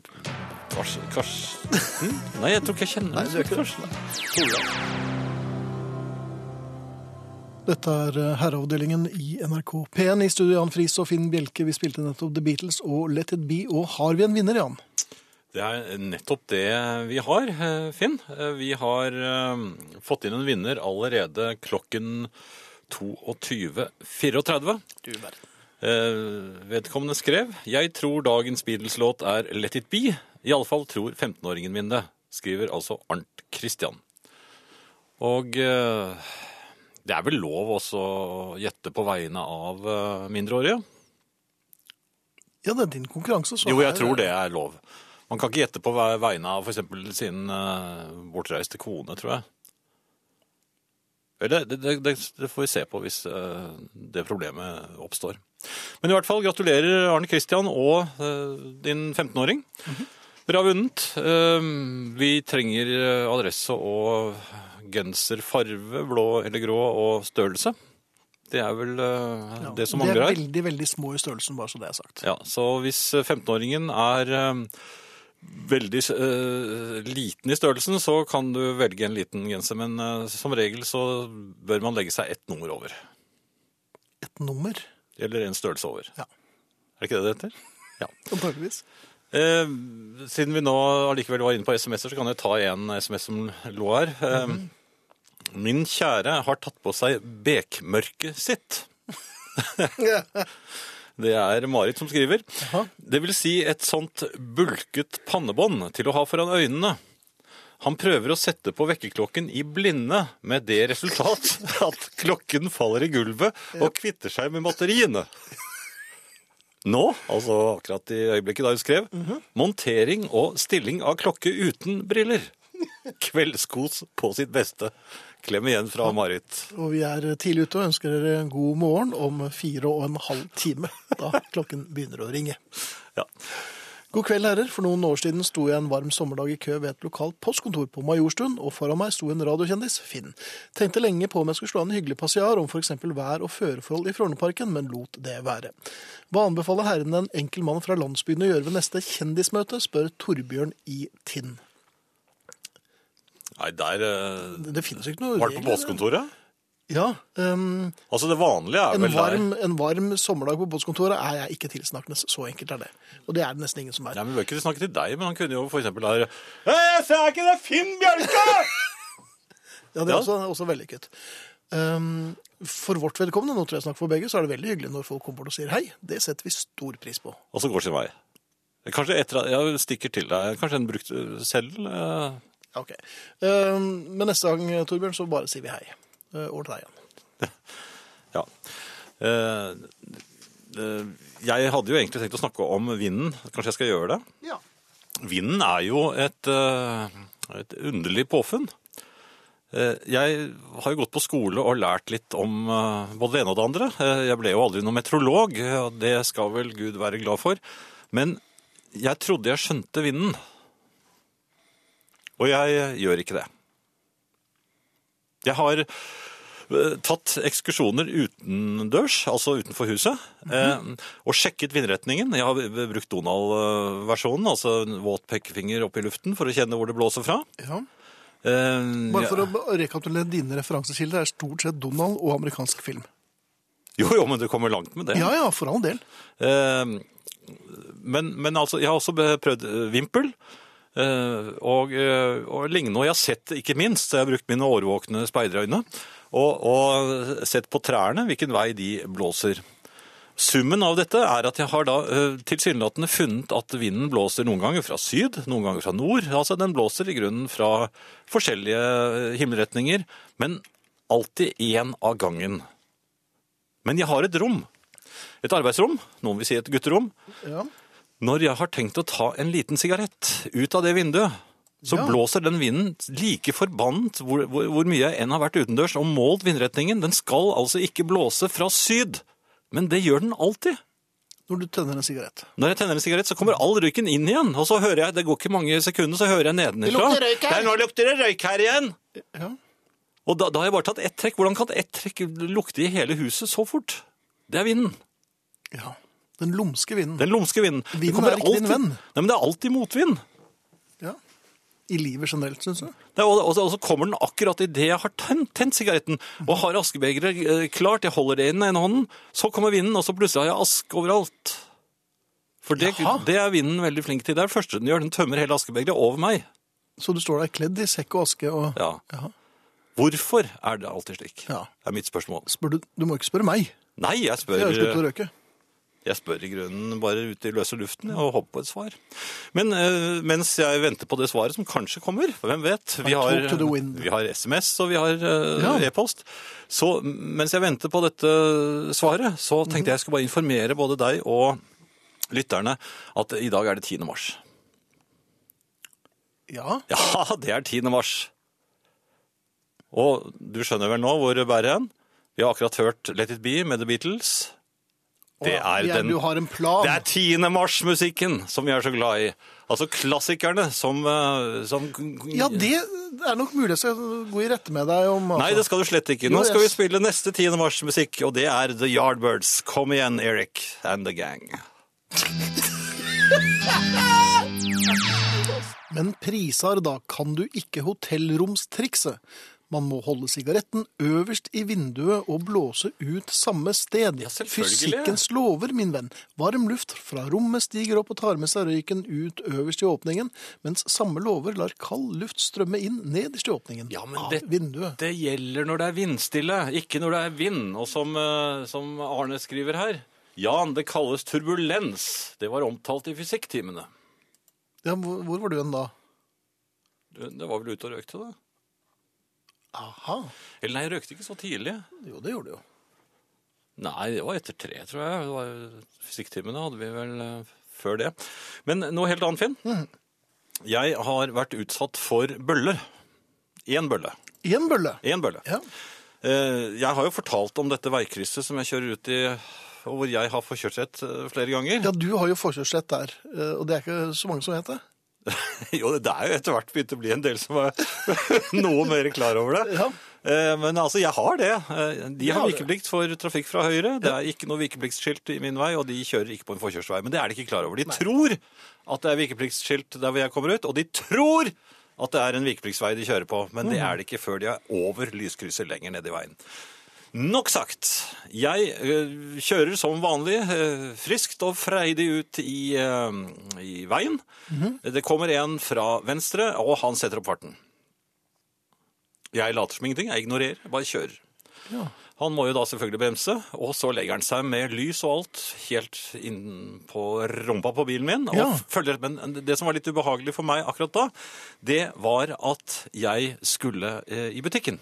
Kars, Karsten Nei, jeg tror ikke jeg kjenner Nei, du gjør ikke det. Torland. Dette er eh, herreavdelingen i NRK P1 i studio Jan Friis og Finn Bjelke. Vi spilte nettopp The Beatles og Let It Be. Og har vi en vinner, Jan? Det er nettopp det vi har, eh, Finn. Eh, Vi har eh, fått inn en vinner allerede klokken 22.34. Du verden. Eh, vedkommende skrev Jeg tror dagens Beatles-låt er Let It Be. Iallfall tror 15-åringen min det, skriver altså Arnt Christian. Og eh, det er vel lov også å gjette på vegne av eh, mindreårige? Ja, det er din konkurranse. Så Jo, jeg er- tror det er lov. Man kan ikke gjette på ve- vegne av f.eks. sin eh, bortreiste kone, tror jeg. Eller, det, det, det, det får vi se på hvis eh, det problemet oppstår. Men i hvert fall gratulerer Arne Christian og eh, din 15-åring. Mhm. Dere har vunnet. Eh, vi trenger eh, adresse og genser, farve, blå eller grå, og størrelse. Det er vel eh, Ja, det som de mangler her. er veldig, veldig små i størrelsen, bare så det er sagt. Ja, så hvis 15-åringen er eh, veldig eh, liten i størrelsen, så kan du velge en liten genser, men eh, som regel så bør man legge seg ett nummer over. Et nummer, Eller en størrelse over. Ja. Er det ikke det det heter? Ja. antageligvis. Eh, siden vi nå allikevel var inne på SMS-er, så kan jeg ta en SMS som lå her. Eh, Min kjære har tatt på seg bekmørket sitt. Det er Marit som skriver. Det vil si et sånt bulket pannebånd til å ha foran øynene. Han prøver å sette på vekkerklokken i blinde, med det resultat at klokken faller i gulvet og kvitter seg med batteriene. Nå, altså akkurat i øyeblikket da hun skrev, montering og stilling av klokke uten briller. Kveldskos på sitt beste. Klem igjen fra Marit. Og vi er eh, tidlig ute og ønsker dere en god morgen om fire og en halv time, da klokken begynner å ringe. Ja. God kveld, herrer. For noen år siden sto jeg en varm sommerdag i kø ved et lokalt postkontor på Majorstuen, og foran meg sto en radiokjendis, Finn. Tenkte lenge på om jeg skulle slå en hyggelig passiar om f.eks. vær- og føreforhold i Frognerparken, men lot det være. Hva anbefaler herrene en enkel mann fra landsbyen å gjøre ved neste kjendismøte, spør Torbjørn i Tinn. Nei, der eh, Det, det finnes jo ikke noe Var det på regler, postkontoret? Ja. ehm, Altså, det vanlige er en, vel der. varm, en varm sommerdag på postkontoret er jeg ikke tilsnakkende. Så enkelt er det. Og det er det nesten ingen som er. Nei, men Vi bør ikke snakke til deg, men han kunne jo for eksempel her «Hei, Jeg sa ikke det er Finn Bjørke! Ja, det er Ja. også, også vellykket. Um, for vårt vedkommende, nå tror jeg jeg snakker for begge, så er det veldig hyggelig når folk kommer bort og sier hei. Det setter vi stor pris på. Og så går sin vei. Kanskje etter at jeg stikker til deg. Kanskje en brukt eh, selv? eh, Ja, Ok. Um, men neste gang, Torbjørn, så bare sier vi hei. Uh, over til deg igjen. Ja. Eh, eh, jeg hadde jo egentlig tenkt å snakke om vinden. Kanskje jeg skal gjøre det? Ja. Vinden er jo et, eh, et underlig påfunn. Eh, Jeg har jo gått på skole og lært litt om eh, både det ene og det andre. Eh, Jeg ble jo aldri noen meteorolog, eh, og det skal vel Gud være glad for. Men jeg trodde jeg skjønte vinden. Og jeg gjør ikke det. Jeg har eh, tatt ekskursjoner utendørs, altså utenfor huset, eh, og sjekket vindretningen. Jeg har b- brukt Donald-versjonen, altså en våt pekefinger opp i luften for å kjenne hvor det blåser fra. ja. Eh, Bare for ja. å rekapitulere dine referansekilder, er stort sett Donald og amerikansk film. Jo, jo, men du kommer langt med det. Ja, ja, for all del. Eh, men, men altså, jeg har også be- prøvd eh, vimpel. eh, og, eh, og lignende, og jeg har sett, ikke minst, jeg har brukt mine årvåkne speiderøyne, og, og sett på trærne hvilken vei de blåser. Summen av dette er at jeg har da eh, tilsynelatende funnet at vinden blåser noen ganger fra syd, noen ganger fra nord. Altså den blåser i grunnen fra forskjellige eh, himmelretninger, men alltid én av gangen. Men jeg har et rom. Et arbeidsrom, noen vil si et gutterom. Ja. Når jeg har tenkt å ta en liten sigarett ut av det vinduet, så Ja. blåser den vinden like forbannet hvor, hvor, hvor mye jeg enn har vært utendørs og målt vindretningen. Den skal altså ikke blåse fra syd, men det gjør den alltid. Når du tenner en sigarett. Når jeg tenner en sigarett, så kommer all røyken inn igjen. Og så hører jeg, det går ikke mange sekundene, så hører jeg nedenifra. Det lukter røyk her. Der, nå lukter det røyk her igjen! Ja. Og da, da har jeg bare tatt ett trekk. Hvordan kan ett trekk lukte i hele huset så fort? Det er vinden. ja. Den lumske vinden. Den lumske vinden. Det Vinden kommer er ikke din alltid- venn. Nei, men det er alltid motvind. Ja. I livet generelt, syns du? Det er, og, og, så- og så kommer den akkurat idet jeg har tent, tent sigaretten og har askebegeret eh, klart. Jeg holder det i den ene hånden, så kommer vinden, og så plutselig har jeg aske overalt. For det, Jaha. det er vinden veldig flink til. Det er det første den gjør. Den tømmer hele askebegeret over meg. Så du står der kledd i sekk og aske og Ja. Jaha. Hvorfor er det alltid slik? Ja. Det er mitt spørsmål. Spør du, du må ikke spørre meg. Nei, jeg Jeg spør, eh, har jo sluttet å røyke. jeg spør i grunnen bare ute i løse luften og håper på et svar. Men eh, mens jeg venter på det svaret som kanskje kommer, for hvem vet Talk Vi har, eh, to the wind. vi har SMS og vi har eh, Ja. e-post. Så mens jeg venter på dette eh, svaret, så Mhm. tenkte jeg jeg skulle bare informere både deg og lytterne at i dag er det 10. mars. Ja. Ja, det er 10. mars. Og du skjønner vel nå hvor det bærer hen? Vi har akkurat hørt Let It Be med The Beatles. Det Å, er ja, den Du har en plan. Det er 10. mars-musikken som vi er så glad i. Altså klassikerne som, eh, som Ja, det er nok mulig jeg skal gå i rette med deg om altså. Nei, det skal du slett ikke. Nå Jo, skal vi jeg- spille neste 10. mars-musikk, og det er The Yardbirds. Kom igjen, Eric and the gang. Men prisar da kan du ikke hotellromstrikset. Man må holde sigaretten øverst i vinduet og blåse ut samme sted. Ja, selvfølgelig. Fysikkens lover, min venn. Varm luft fra rommet stiger opp og tar med seg røyken ut øverst i åpningen, mens samme lover lar kald luft strømme inn nederst i åpningen Ja, men av det- vinduet. Det gjelder når det er vindstille, ikke når det er vind. Og som, eh, som Arne skriver her Jan, det kalles turbulens. Det var omtalt i fysikktimene. Ja, hvor hvor var du hen da? Du, Det var vel ute og røykte, da? Aha. Eller nei, jeg røykte ikke så tidlig. Jo, det gjorde du jo. Nei, det var etter tre, tror jeg. Det var Fysikktimene hadde vi vel eh, før det. Men noe helt annet, Finn. Jeg har vært utsatt for bøller. Én bølle. I en bølle. Én bølle. Ja. Eh, Jeg har jo fortalt om dette veikrysset som jeg kjører ut i, og hvor jeg har forkjørsrett eh, flere ganger. ja, du har jo forkjørsrett der, eh, og det er ikke så mange som vet det. Jo, det er jo etter hvert begynt å bli en del som er noe mer klar over det. Ja. Eh, Men altså, jeg har det. Eh, De har har det. vikeplikt for trafikk fra høyre. Det er ikke noe vikepliktsskilt i min vei, og de kjører ikke på en forkjørsvei. Men det er de ikke klar over. De tror at det er vikepliktsskilt der hvor jeg kommer ut, og de tror at det er en vikepliktsvei de kjører på. Men Mhm. det er det ikke før de er over lyskrysset lenger ned i veien. Nok sagt. Jeg eh, kjører som vanlig eh, friskt og freidig ut i, eh, i veien. Det kommer en fra venstre, og han setter opp farten. Jeg later som ingenting, jeg ignorerer, jeg bare kjører. Han må jo da selvfølgelig bremse, og så legger han seg med lys og alt helt inn på rumpa på bilen min. Og Ja. følger, men det som var litt ubehagelig for meg akkurat da, det var at jeg skulle eh, i butikken.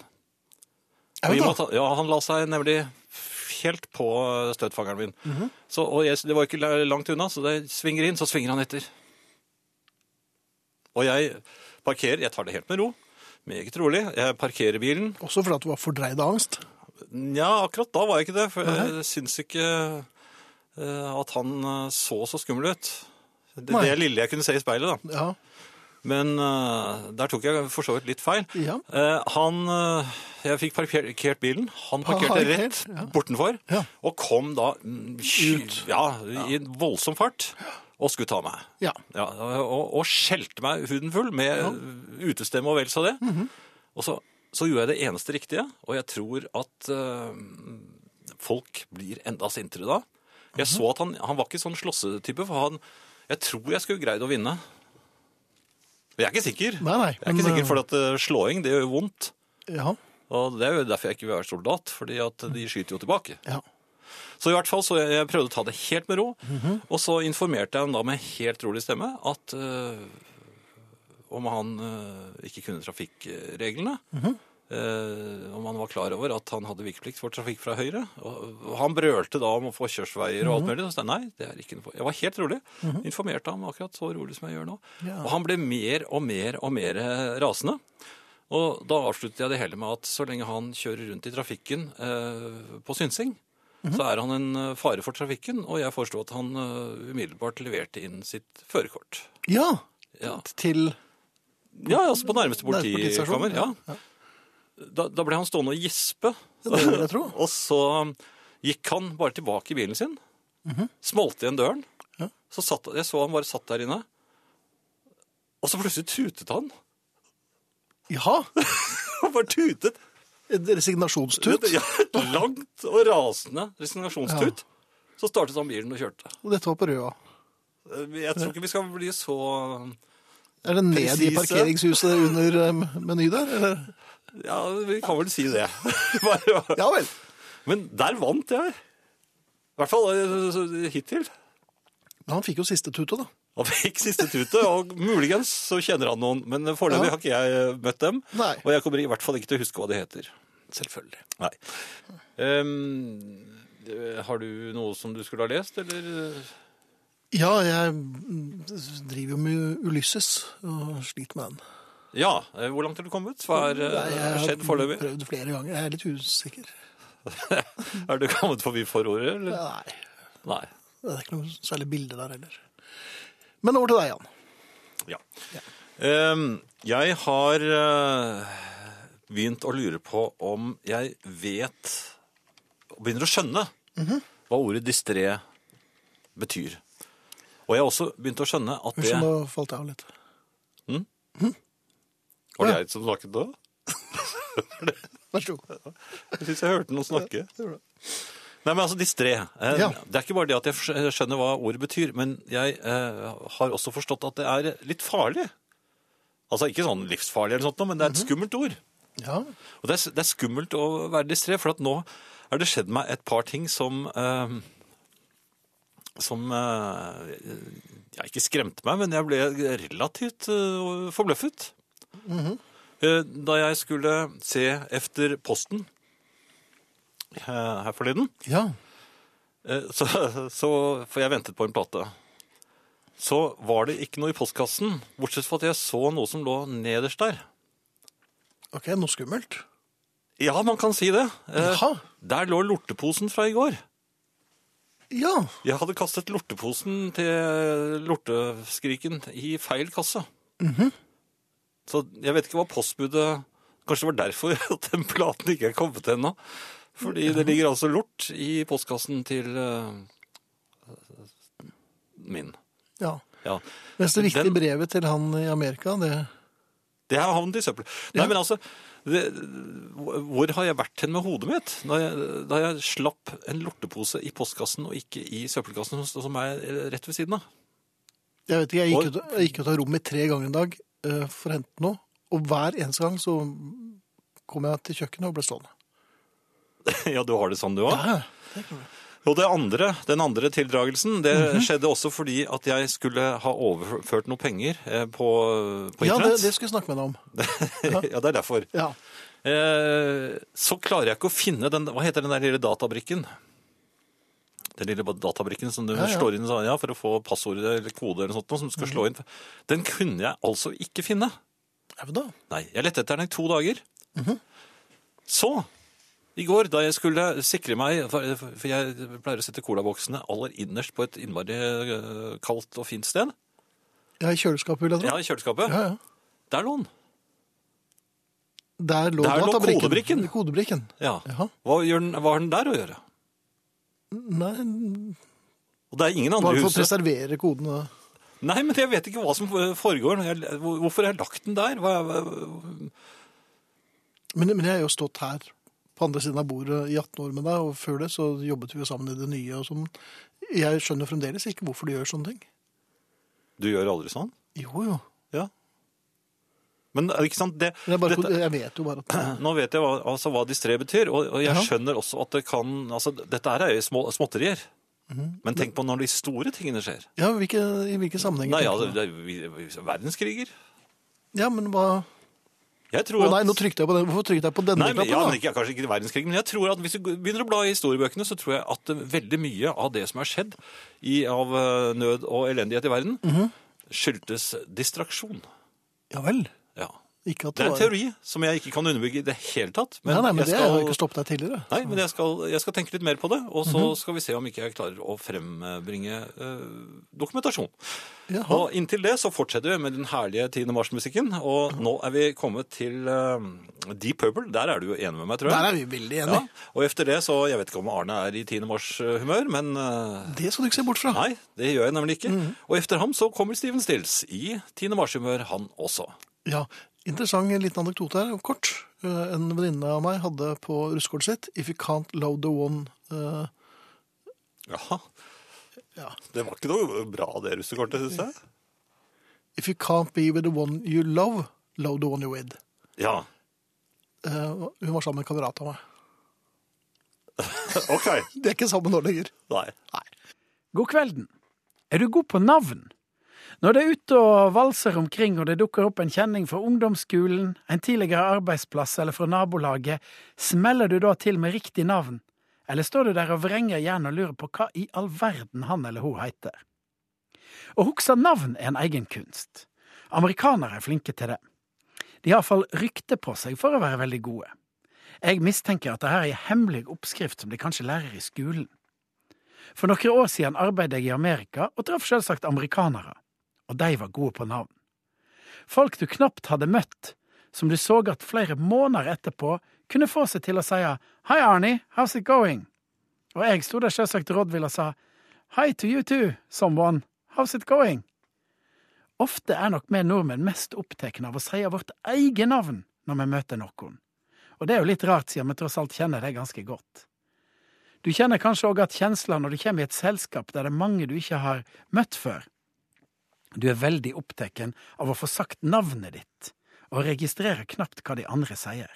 Og i og med at han- ja, han la seg nemlig helt på støtfangeren min. så, og jeg, det var ikke la- langt unna, så det svinger inn, så svinger han etter. Og jeg parkerer, jeg tar det helt med ro, meget rolig. Jeg parkerer bilen. Også fordi at du var fordreid av angst. Nja, akkurat da var jeg ikke det, for jeg syns ikke eh, at han eh, så så skummel ut. Det, Nei. det lille jeg kunne se i speilet, da. Ja. Men eh, der tok jeg for så vidt litt feil. Ja. Eh, han, eh, jeg fikk parkert bilen. Han parkerte Parkert, rett ja. bortenfor, Ja. og kom da mm, sky- Ja, i en voldsom fart, og skulle ta meg. Ja. og, og skjelte meg huden full med utestemme og vel så det. Mhm. Og så, så gjorde jeg det eneste riktige, og jeg tror at eh, folk blir enda sintere da. Jeg så at han, han var ikke sånn slåssetype, for han, jeg tror jeg skulle greid å vinne. Men jeg er ikke sikker. Nei, nei, jeg er men, ikke sikker, eh, for at eh, slåing, det gjør jo vondt. Ja. Og det er jo derfor jeg ikke vil være soldat, fordi at de skyter jo tilbake. ja. Så i hvert fall, så jeg, jeg prøvde å ta det helt med ro, og så informerte jeg ham da med helt rolig stemme at eh, om han eh, ikke kunne trafikkreglene, eh, om han var klar over at han hadde vikeplikt for trafikk fra høyre, og, og han brølte da om å få kjørsveier og alt mulig, så sa jeg nei, det er ikke noe for-» Jeg var helt rolig, informerte ham akkurat så rolig som jeg gjør nå, og han ble mer og mer og mer eh, rasende. Og da avsluttet jeg det hele med at så lenge han kjører rundt i trafikken eh, på synsing, Mhm. så er han en eh, fare for trafikken, og jeg foreslo at han eh, umiddelbart leverte inn sitt førerkort. Ja, Ja. til ja, altså på nærmeste Nærmeste politistasjon, politikammer. Ja. Da, da ble han stående og gispe, det vil jeg tro. og så gikk han bare tilbake i bilen sin, smalt igjen døren, Mhm. Ja. så satt, jeg så han bare satt der inne, og så plutselig tutet han. Ja, Han bare tutet. et resignasjonstut. Ja, et langt og rasende resignasjonstut. Så startet han bilen og kjørte. Og dette var på Røa. Eh, Jeg tror ikke vi skal bli så Er det ned i Presise. parkeringshuset under eh, Meny der? Eller? Ja, vi kan vel si det. Bare, Ja vel. Men der vant jeg. I hvert fall eh, så- hittil. Men han fikk jo siste tutet, da. Han fikk siste tutet, og muligens så kjenner han noen. Men foreløpig Ja. har ikke jeg eh, møtt dem. Nei. Og jeg kommer i hvert fall ikke til å huske hva de heter. Selvfølgelig. Nei. Ehm, eh, har du noe som du skulle ha lest, eller? Ja, jeg mm, driver jo med Ulysses og sliter med den. Ja. eh, Hvor langt er du kommet? Hva er, eh, har skjedd har foreløpig? prøvd flere ganger. Jeg er litt usikker. Er du kommet forbi forordet, eller? Nei, Nei. det er ikke noe særlig bilde der heller. Men over til deg, Jan. Ja. Ehm, jeg har eh, begynt å lure på om jeg vet og begynner å skjønne hva ordet distré betyr. Og jeg har også begynt å skjønne at det Unnskyld, nå falt jeg av litt. Var det jeg som snakket da? Vær så god. Jeg syns jeg hørte noen snakke. Nei, men altså distré. Eh, Ja. Det er ikke bare det at jeg skj- eh, skjønner hva ordet betyr, men jeg eh, har også forstått at det er litt farlig. Altså ikke sånn livsfarlig eller sånt, noe, men det er et skummelt ord. Ja, Og det er, det er skummelt å være distré, for at nå er det skjedd meg et par ting som eh, Som eh, ja, ikke skremte meg, men jeg ble relativt eh, forbløffet. Eh, Da jeg skulle se efter posten eh, her forleden, ja. Eh, Så, så, for jeg ventet på en plate. Så var det ikke noe i postkassen, bortsett fra at jeg så noe som lå nederst der. Ok, noe skummelt. Ja, man kan si det. Eh, Jaha. Der lå lorteposen fra i går. Ja, Jeg hadde kastet lorteposen til lorteskriken i feil kasse. Så jeg vet ikke hva postbudet Kanskje det var derfor at den platen ikke er kommet ennå. Fordi det ligger altså lort i postkassen til eh, min. ja. Ja. Mens det viktige Den- brevet til han i Amerika, det... Det har havnet i søppel. Nei, men altså, det, hvor har jeg vært hen med hodet mitt? Da jeg, da jeg slapp en lortepose i postkassen og ikke i søppelkassen, som er rett ved siden av. Jeg vet ikke, jeg gikk Og- ut, jeg gikk ut av rommet tre ganger en dag eh, for å hente noe, og hver eneste gang så kom jeg til kjøkkenet og ble stående. ja, du har det sånn du òg? Og det andre, den andre tildragelsen, det skjedde også fordi at jeg skulle ha overført noe penger eh, på, på Ja, det, internett. det skulle jeg snakke med deg om. ja, det er derfor. Ja. Eh, så klarer jeg ikke å finne den Hva heter den der lille databrikken? Den lille databrikken som du Ja, ja. slår inn sånn, ja, for å få passordet eller kode eller sånt, noe som du skal slå inn. Den kunne jeg altså ikke finne. Ja, men da. Nei, jeg lette etter den i to dager. Mhm. Så, i går, da jeg skulle sikre meg For for jeg pleier å sette colaboksene aller innerst på et innmari eh, kaldt og fint sted. Ja, i kjøleskapet vil jeg tro. Ja, i kjøleskapet. Ja, ja. Der lå den. Der lå, Der lå databrikken. kodebrikken. Kodebrikken. Ja. Jaha. Hva, gjør den, hva har den der å gjøre? Nei, Og det er ingen andre bare for å huset. preservere koden. da. Nei, men jeg vet ikke hva som foregår. når Jeg, hvor- hvorfor har jeg lagt den der? Hva, hva- Men, men jeg har jo stått her på andre siden av bordet i 18 år med deg, og før det så jobbet vi jo sammen i det nye. og sånn. Jeg skjønner fremdeles ikke hvorfor du gjør sånne ting. du gjør aldri sånn? Jo, jo. Ja. Men er det ikke sant, det, Men Jeg, bare, dette- jeg vet jo bare at nå vet jeg hva, altså, hva distré betyr, og, og jeg Ja. skjønner også at det kan altså, Dette her er jo små, småtterier. Mhm. Men tenk på når de store tingene skjer. Ja, hvilke, i hvilke sammenhenger? Nei, ja, tenker det, det, vi- vi- verdenskriger. du? ja, men hva Jeg tror Å nei, at- nå trykte jeg på den. Hvorfor trykte jeg på denne Nei, men, knappen, ja, da? men ikke, kanskje ikke verdenskrig, men jeg tror at hvis du begynner å bla i historiebøkene, så tror jeg at eh, veldig mye av det som har skjedd i, av eh, nød og elendighet i verden, Mhm. skyldtes distraksjon. Ja vel. Ja. Ikke at Det det, er en teori som jeg ikke kan underbygge i det hele tatt. Men Nei, nei, men det jeg skal, har jo ikke stoppet deg tidligere. Nei, men jeg skal, jeg skal tenke litt mer på det, og så Mhm. skal vi se om ikke jeg klarer å frembringe eh, dokumentasjon. Jaha. Og inntil det så fortsetter vi med den herlige 10. mars-musikken, og Mhm. nå er vi kommet til eh, Deep Purple. Der er du jo enig med meg, tror jeg. Der er vi veldig enige. Ja, og efter det så, jeg vet ikke om Arne er i 10. mars-humør, men eh, Det skal du ikke se bort fra. nei, det gjør jeg nemlig ikke. Og efter ham så kommer Steven Stills i 10. mars-humør, han også. Ja, Interessant liten anekdote her, kort. Eh, En venninne av meg hadde på russekortet sitt 'If you can't love the one eh, Jaha. Ja. Det var ikke noe bra det russekortet, synes jeg. If you can't be with the one you love, love the one you're with. Ja, Eh, hun var sammen med en kamerat av meg. ok. De er ikke sammen nå lenger. Nei. God kvelden. Er du god på navn? Når du er ute og valser omkring og det dukker opp en kjenning fra ungdomsskolen, en tidligere arbeidsplass eller fra nabolaget, smeller du da til med riktig navn? Eller står du der og vrenger hjernen og lurer på hva i all verden han eller hun heter? Å huske navn er en egen kunst. Amerikanere er flinke til det. De har iallfall rykte på seg for å være veldig gode. Jeg mistenker at dette er en hemmelig oppskrift som de kanskje lærer i skolen. For noen år siden arbeidet jeg i Amerika og traff selvsagt amerikanere, og de var gode på navn. Folk du knapt hadde møtt, som du så at flere måneder etterpå kunne få seg til å si Hei, Arnie, how's it going? Og jeg sto der selvsagt rådvill og sa Hei to you too, someone, how's it going? Ofte er nok vi nordmenn mest opptatt av å si vårt eget navn når vi møter noen, og det er jo litt rart siden vi tross alt kjenner det ganske godt. Du kjenner kanskje òg at kjensler når du kommer i et selskap der det er mange du ikke har møtt før. Du er veldig opptatt av å få sagt navnet ditt, og registrerer knapt hva de andre sier.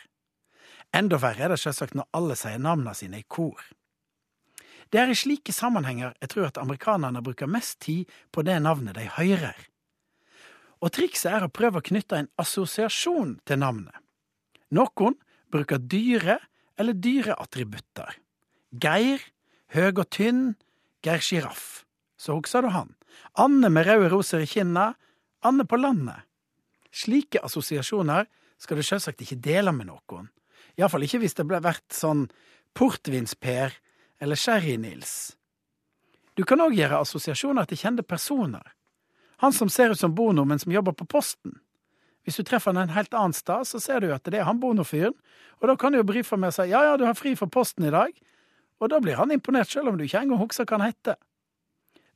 Enda verre er det selvsagt når alle sier navnene sine i kor. Det er i slike sammenhenger jeg tror at amerikanerne bruker mest tid på det navnet de hører. Og trikset er å prøve å knytte en assosiasjon til navnet. Noen bruker dyre eller dyreattributter. Geir, høg og tynn, Geir Sjiraff. Så husker du han. Anne med røde roser i kinna, Anne på landet. Slike assosiasjoner skal du selvsagt ikke dele med noen. Iallfall ikke hvis det ble vært sånn Portvins-Per eller Sherry-Nils. Du kan òg gjøre assosiasjoner til kjente personer. Han som ser ut som Bono, men som jobber på Posten. Hvis du treffer han en helt annen sted, så ser du jo at det er han Bono-fyren, og da kan du jo brife med og si ja ja, du har fri for Posten i dag, og da blir han imponert selv om du ikke engang husker hva han heter.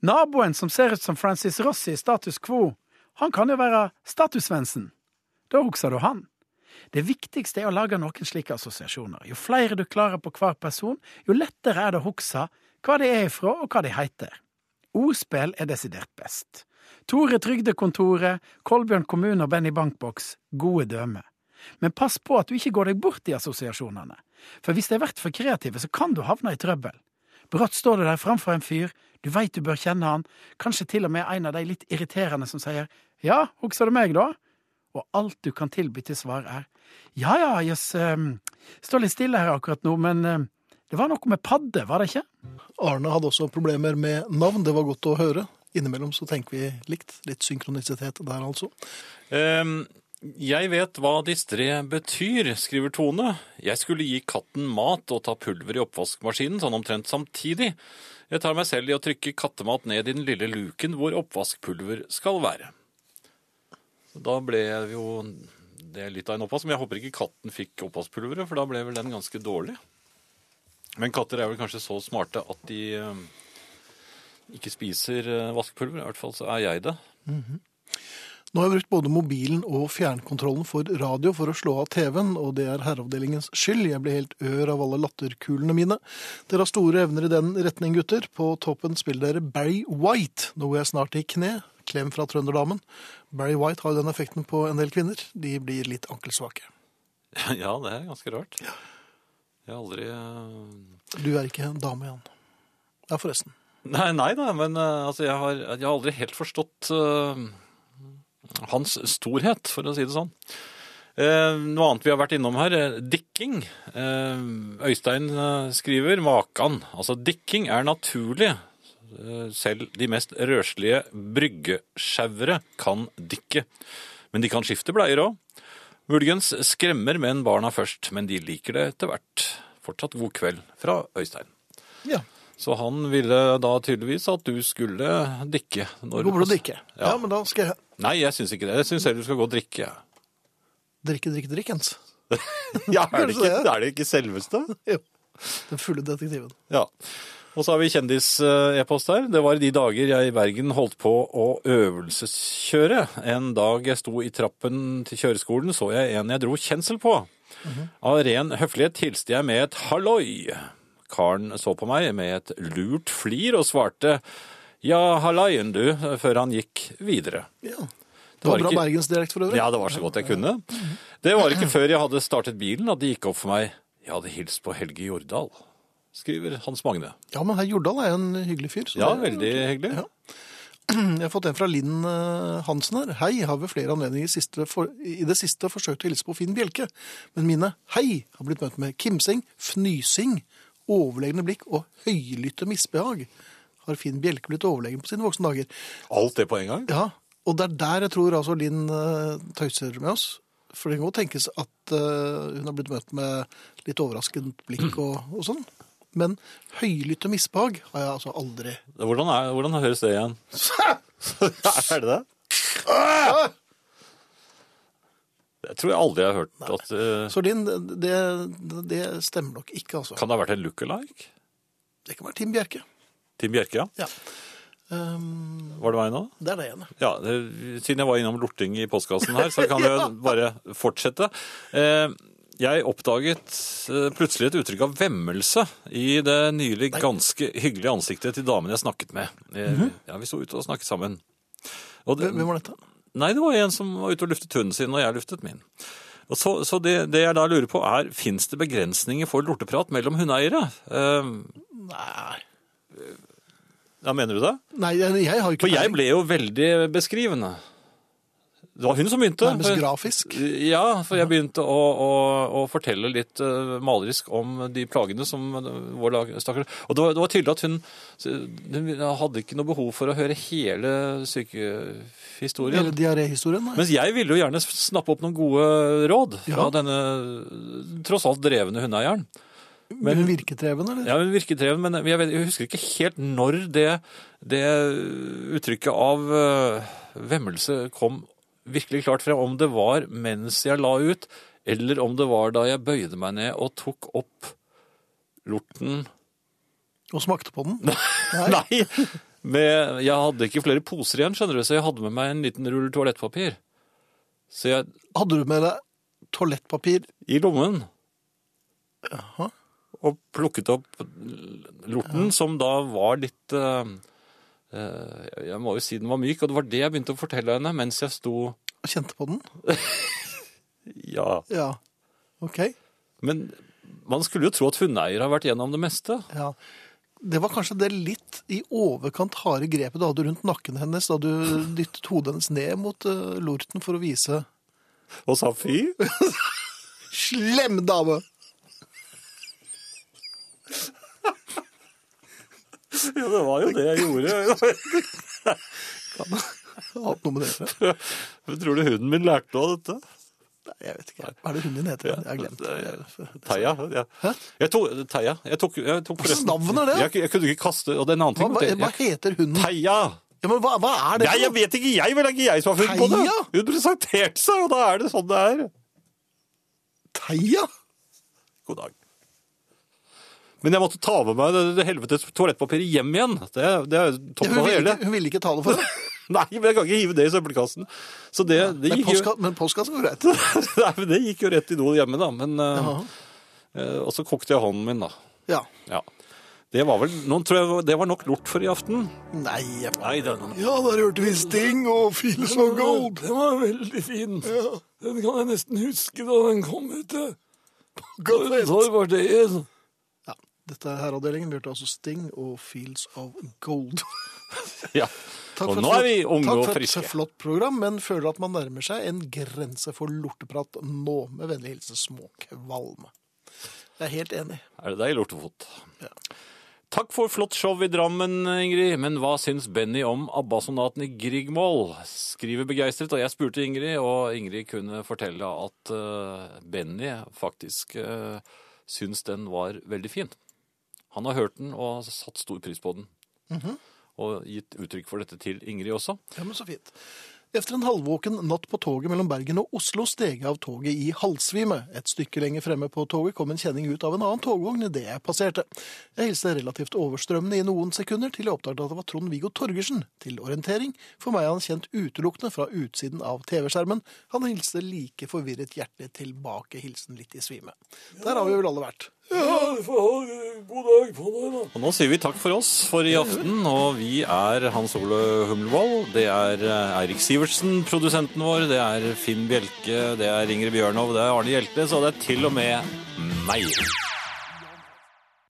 Naboen som ser ut som Francis Rossi i Status Quo, han kan jo være Status-Svendsen. Da husker du han. Det viktigste er å lage noen slike assosiasjoner. Jo flere du klarer på hver person, jo lettere er det å huske hva de er ifra og hva de heter. Ordspill er desidert best. Tore Trygdekontoret, Kolbjørn kommune og Benny Bankboks gode dømme. Men pass på at du ikke går deg bort i assosiasjonene. For hvis de har vært for kreative, så kan du havne i trøbbel. Brått står du der framfor en fyr, du veit du bør kjenne han, kanskje til og med en av de litt irriterende som sier ja, husker du meg da? Og alt du kan tilby til svar er ja ja, jøss, ehm, står litt stille her akkurat nå, men ehm, det var noe med padde, var det ikke? Arne hadde også problemer med navn. Det var godt å høre. Innimellom så tenker vi likt. Litt synkronisitet der, altså. Ehm, jeg vet hva distré betyr, skriver Tone. Jeg skulle gi katten mat og ta pulver i oppvaskmaskinen sånn omtrent samtidig. Jeg tar meg selv i å trykke kattemat ned i den lille luken hvor oppvaskpulver skal være. Da ble jeg jo det litt av en oppvask, men jeg håper ikke katten fikk oppvaskpulveret, for da ble vel den ganske dårlig. Men katter er vel kanskje så smarte at de eh, ikke spiser eh, vaskpulver. I hvert fall så er jeg det. Nå har jeg brukt både mobilen og fjernkontrollen for radio for å slå av TV-en, og det er herreavdelingens skyld. Jeg blir helt ør av alle latterkulene mine. Dere har store evner i den retning, gutter. På toppen spiller dere Barry White, noe jeg snart i kne. klem fra trønderdamen. Barry White har jo den effekten på en del kvinner. De blir litt ankelsvake. Ja, det er ganske rart. Jeg har aldri eh, Du er ikke en dame, Jan. Ja, forresten. Nei, nei da, men eh, altså, jeg, har, jeg har aldri helt forstått eh, hans storhet, for å si det sånn. Eh, noe annet vi har vært innom her, eh, dikking. Eh, Øystein eh, skriver makan. Altså, dikking er naturlig. Eh, selv de mest røslige bryggesjauere kan dikke. Men de kan skifte bleier òg. Muligens skremmer menn barna først, men de liker det etter hvert. Fortsatt god kveld fra Øystein. Ja, Så han ville da tydeligvis at du skulle dikke. når Går vel å drikke? Ja. Ja. men da skal jeg Nei, jeg syns ikke det. Jeg syns heller du skal gå og drikke. jeg. drikke, drikke, drikke, Jens. Ja, er det ikke- selveste? Jo. Den fulle detektiven. Ja. Og så har vi kjendis-e-post her. Det var i de dager jeg i Bergen holdt på å øvelseskjøre. En dag jeg sto i trappen til kjøreskolen, så jeg en jeg dro kjensel på. Av ren høflighet hilste jeg med et halloi. Karen så på meg med et lurt flir og svarte ja, hallaien du, før han gikk videre. Ja. Det Det var var bra ikke- bergensdialekt for øvrig. Ja, det var så godt jeg kunne. Det var ikke før jeg hadde startet bilen at det gikk opp for meg. Jeg hadde hilst på Helge Jordal, skriver Hans Magne. Ja, men herr Jordal er jo en hyggelig fyr. så Ja, det- veldig hyggelig. Ja. Jeg har fått en fra Linn eh, Hansen her. Hei, har ved flere anledninger i, siste for, i det siste forsøkt å hilse på Finn Bjelke, men mine hei har blitt møtt med kimsing, fnysing, overlegne blikk og høylytte misbehag. Har Finn Bjelke blitt overlegen på sine voksne dager? Alt det på en gang? Ja, og det er der jeg tror altså Linn eh, tøyser med oss. For det kan godt tenkes at eh, hun har blitt møtt med litt overraskende blikk og, og sånn. Men høylytte misbehag har jeg altså aldri Hvordan, er, hvordan høres det igjen? er det det? Jeg tror jeg aldri har hørt at eh, Så Linn, det, det stemmer nok ikke, altså. Kan det ha vært en look-alike? Det kan være Tim Bjerke. Tim Bjerke, ja. Um, Var det meg nå? det er det ene. Ja, det, siden jeg var innom lorting i postkassen her, så kan jeg bare fortsette. Eh, jeg oppdaget eh, plutselig et uttrykk av vemmelse i det nylig ganske hyggelige ansiktet til damen jeg snakket med. Eh, Ja, vi sto ute og snakket sammen. Og det, Hvem hvem var dette? Nei, det var en som var ute og luftet hunden sin, og jeg luftet min. Og så så det, det jeg da lurer på er, fins det begrensninger for lorteprat mellom hundeeiere? Eh, Nei, ja, mener du det? Nei jeg, jeg har jo ikke For jeg ble jo veldig beskrivende. Det var hun som begynte. nærmest For- grafisk. Ja, for jeg begynte å, å, å fortelle litt eh, malerisk om de plagene som eh, vår lag stakkars Og det var, det var tydelig at hun, hun hadde ikke noe behov for å høre hele sykehistorien. Hele diaréhistorien. nei. Mens jeg ville jo gjerne snappe opp noen gode råd fra Ja. denne tross alt drevne hundeeieren. Men hun virket dreven, eller? Ja, hun virket dreven, men jeg, vet, jeg husker ikke helt når det, det uttrykket av eh, vemmelse kom virkelig klart frem. Om det var mens jeg la ut, eller om det var da jeg bøyde meg ned og tok opp lorten Og smakte på den. Nei! Med, jeg hadde ikke flere poser igjen, skjønner du, så jeg hadde med meg en liten rull toalettpapir. Så jeg Hadde du med deg toalettpapir? i lommen. Og plukket opp lorten, som da var litt eh, eh, Jeg må jo si den var myk, og det var det jeg begynte å fortelle henne mens jeg sto og Kjente på den? Ja. Ja. Ok. Men man skulle jo tro at hundeeier har vært gjennom det meste. Ja. Det var kanskje det litt i overkant harde grepet du hadde rundt nakken hennes da du dyttet hodet hennes ned mot eh, lorten for å vise Og sa fy. Slem dame! Ja, det var jo det jeg gjorde. Jeg har hatt noe med det å gjøre. Tror du hunden min lærte noe av dette? Nei, Jeg vet ikke. Hva er det hunden din heter? Jeg har glemt det. Theia. Ja. Jeg tok, Theia. Jeg tok, jeg tok slags navn er det? Jeg, jeg kunne ikke kaste Og det er en annen Hva, hva, ting. vet du. hva heter hunden? Theia! Ja, men hva, hva er det? Nei, jeg vet ikke, jeg, vel er ikke jeg som har funnet på det. Heia? Hun presenterte seg, og da er det sånn det er. Theia? God dag. Men jeg måtte ta med meg det, det helvetes toalettpapiret hjem igjen. Det, det er Ja, toppen hun, av det ville hele. ikke, hun ville ikke ta det for deg. Nei, men jeg kan ikke hive det i søppelkassen. Så det, det, Men gikk, jo, postkassen, men postkassen går greit. nei, men det gikk jo rett i do hjemme, da. Men, eh, eh, og så kokte jeg hånden min, da. Ja. Ja. Det var vel, nå tror jeg det var nok lort for i aften. Nei, jeg... Nei, den, Ja, der hørte vi Sting og Feels of Gold. Den var veldig fin. Ja. Den kan jeg nesten huske da den kom ut. Godfest. var det Ja, dette er herreavdelingen. Vi hørte altså Sting og Fields of Gold. Ja. Takk Og for et nå er vi flott- unge takk og for et friske. flott program, men føler at man nærmer seg en grense for lorteprat nå. Med vennlig hilsen Småkvalm. Jeg er helt enig. Er det deg, Lortefot? Ja. Takk for flott show i Drammen, Ingrid. Men hva syns Benny om ABBA-sonaten i Griegmål? Skriver begeistret, og jeg spurte Ingrid, og Ingrid kunne fortelle at eh, Benny faktisk uh, syns den var veldig fin. Han har hørt den og satt stor pris på den. Og gitt uttrykk for dette til Ingrid også. Ja, men så fint. Efter en halvvåken natt på toget mellom Bergen og Oslo steg jeg av toget i halvsvime. Et stykke lenger fremme på toget kom en kjenning ut av en annen togvogn idet jeg passerte. Jeg hilste relativt overstrømmende i noen sekunder til jeg oppdaget at det var Trond-Viggo Torgersen. Til orientering, for meg er han kjent utelukkende fra utsiden av TV-skjermen. Han hilste like forvirret hjertelig tilbake, hilsen litt i svime. Der har vi vel alle vært. Og nå sier vi takk for oss for i aften, og vi er Hans Ole Humlevold, det er eh, Eirik Sivertsen, produsenten vår, det er Finn Bjelke, det er Ingrid Bjørnov, det er Arne Hjelte, så det er til og med meg.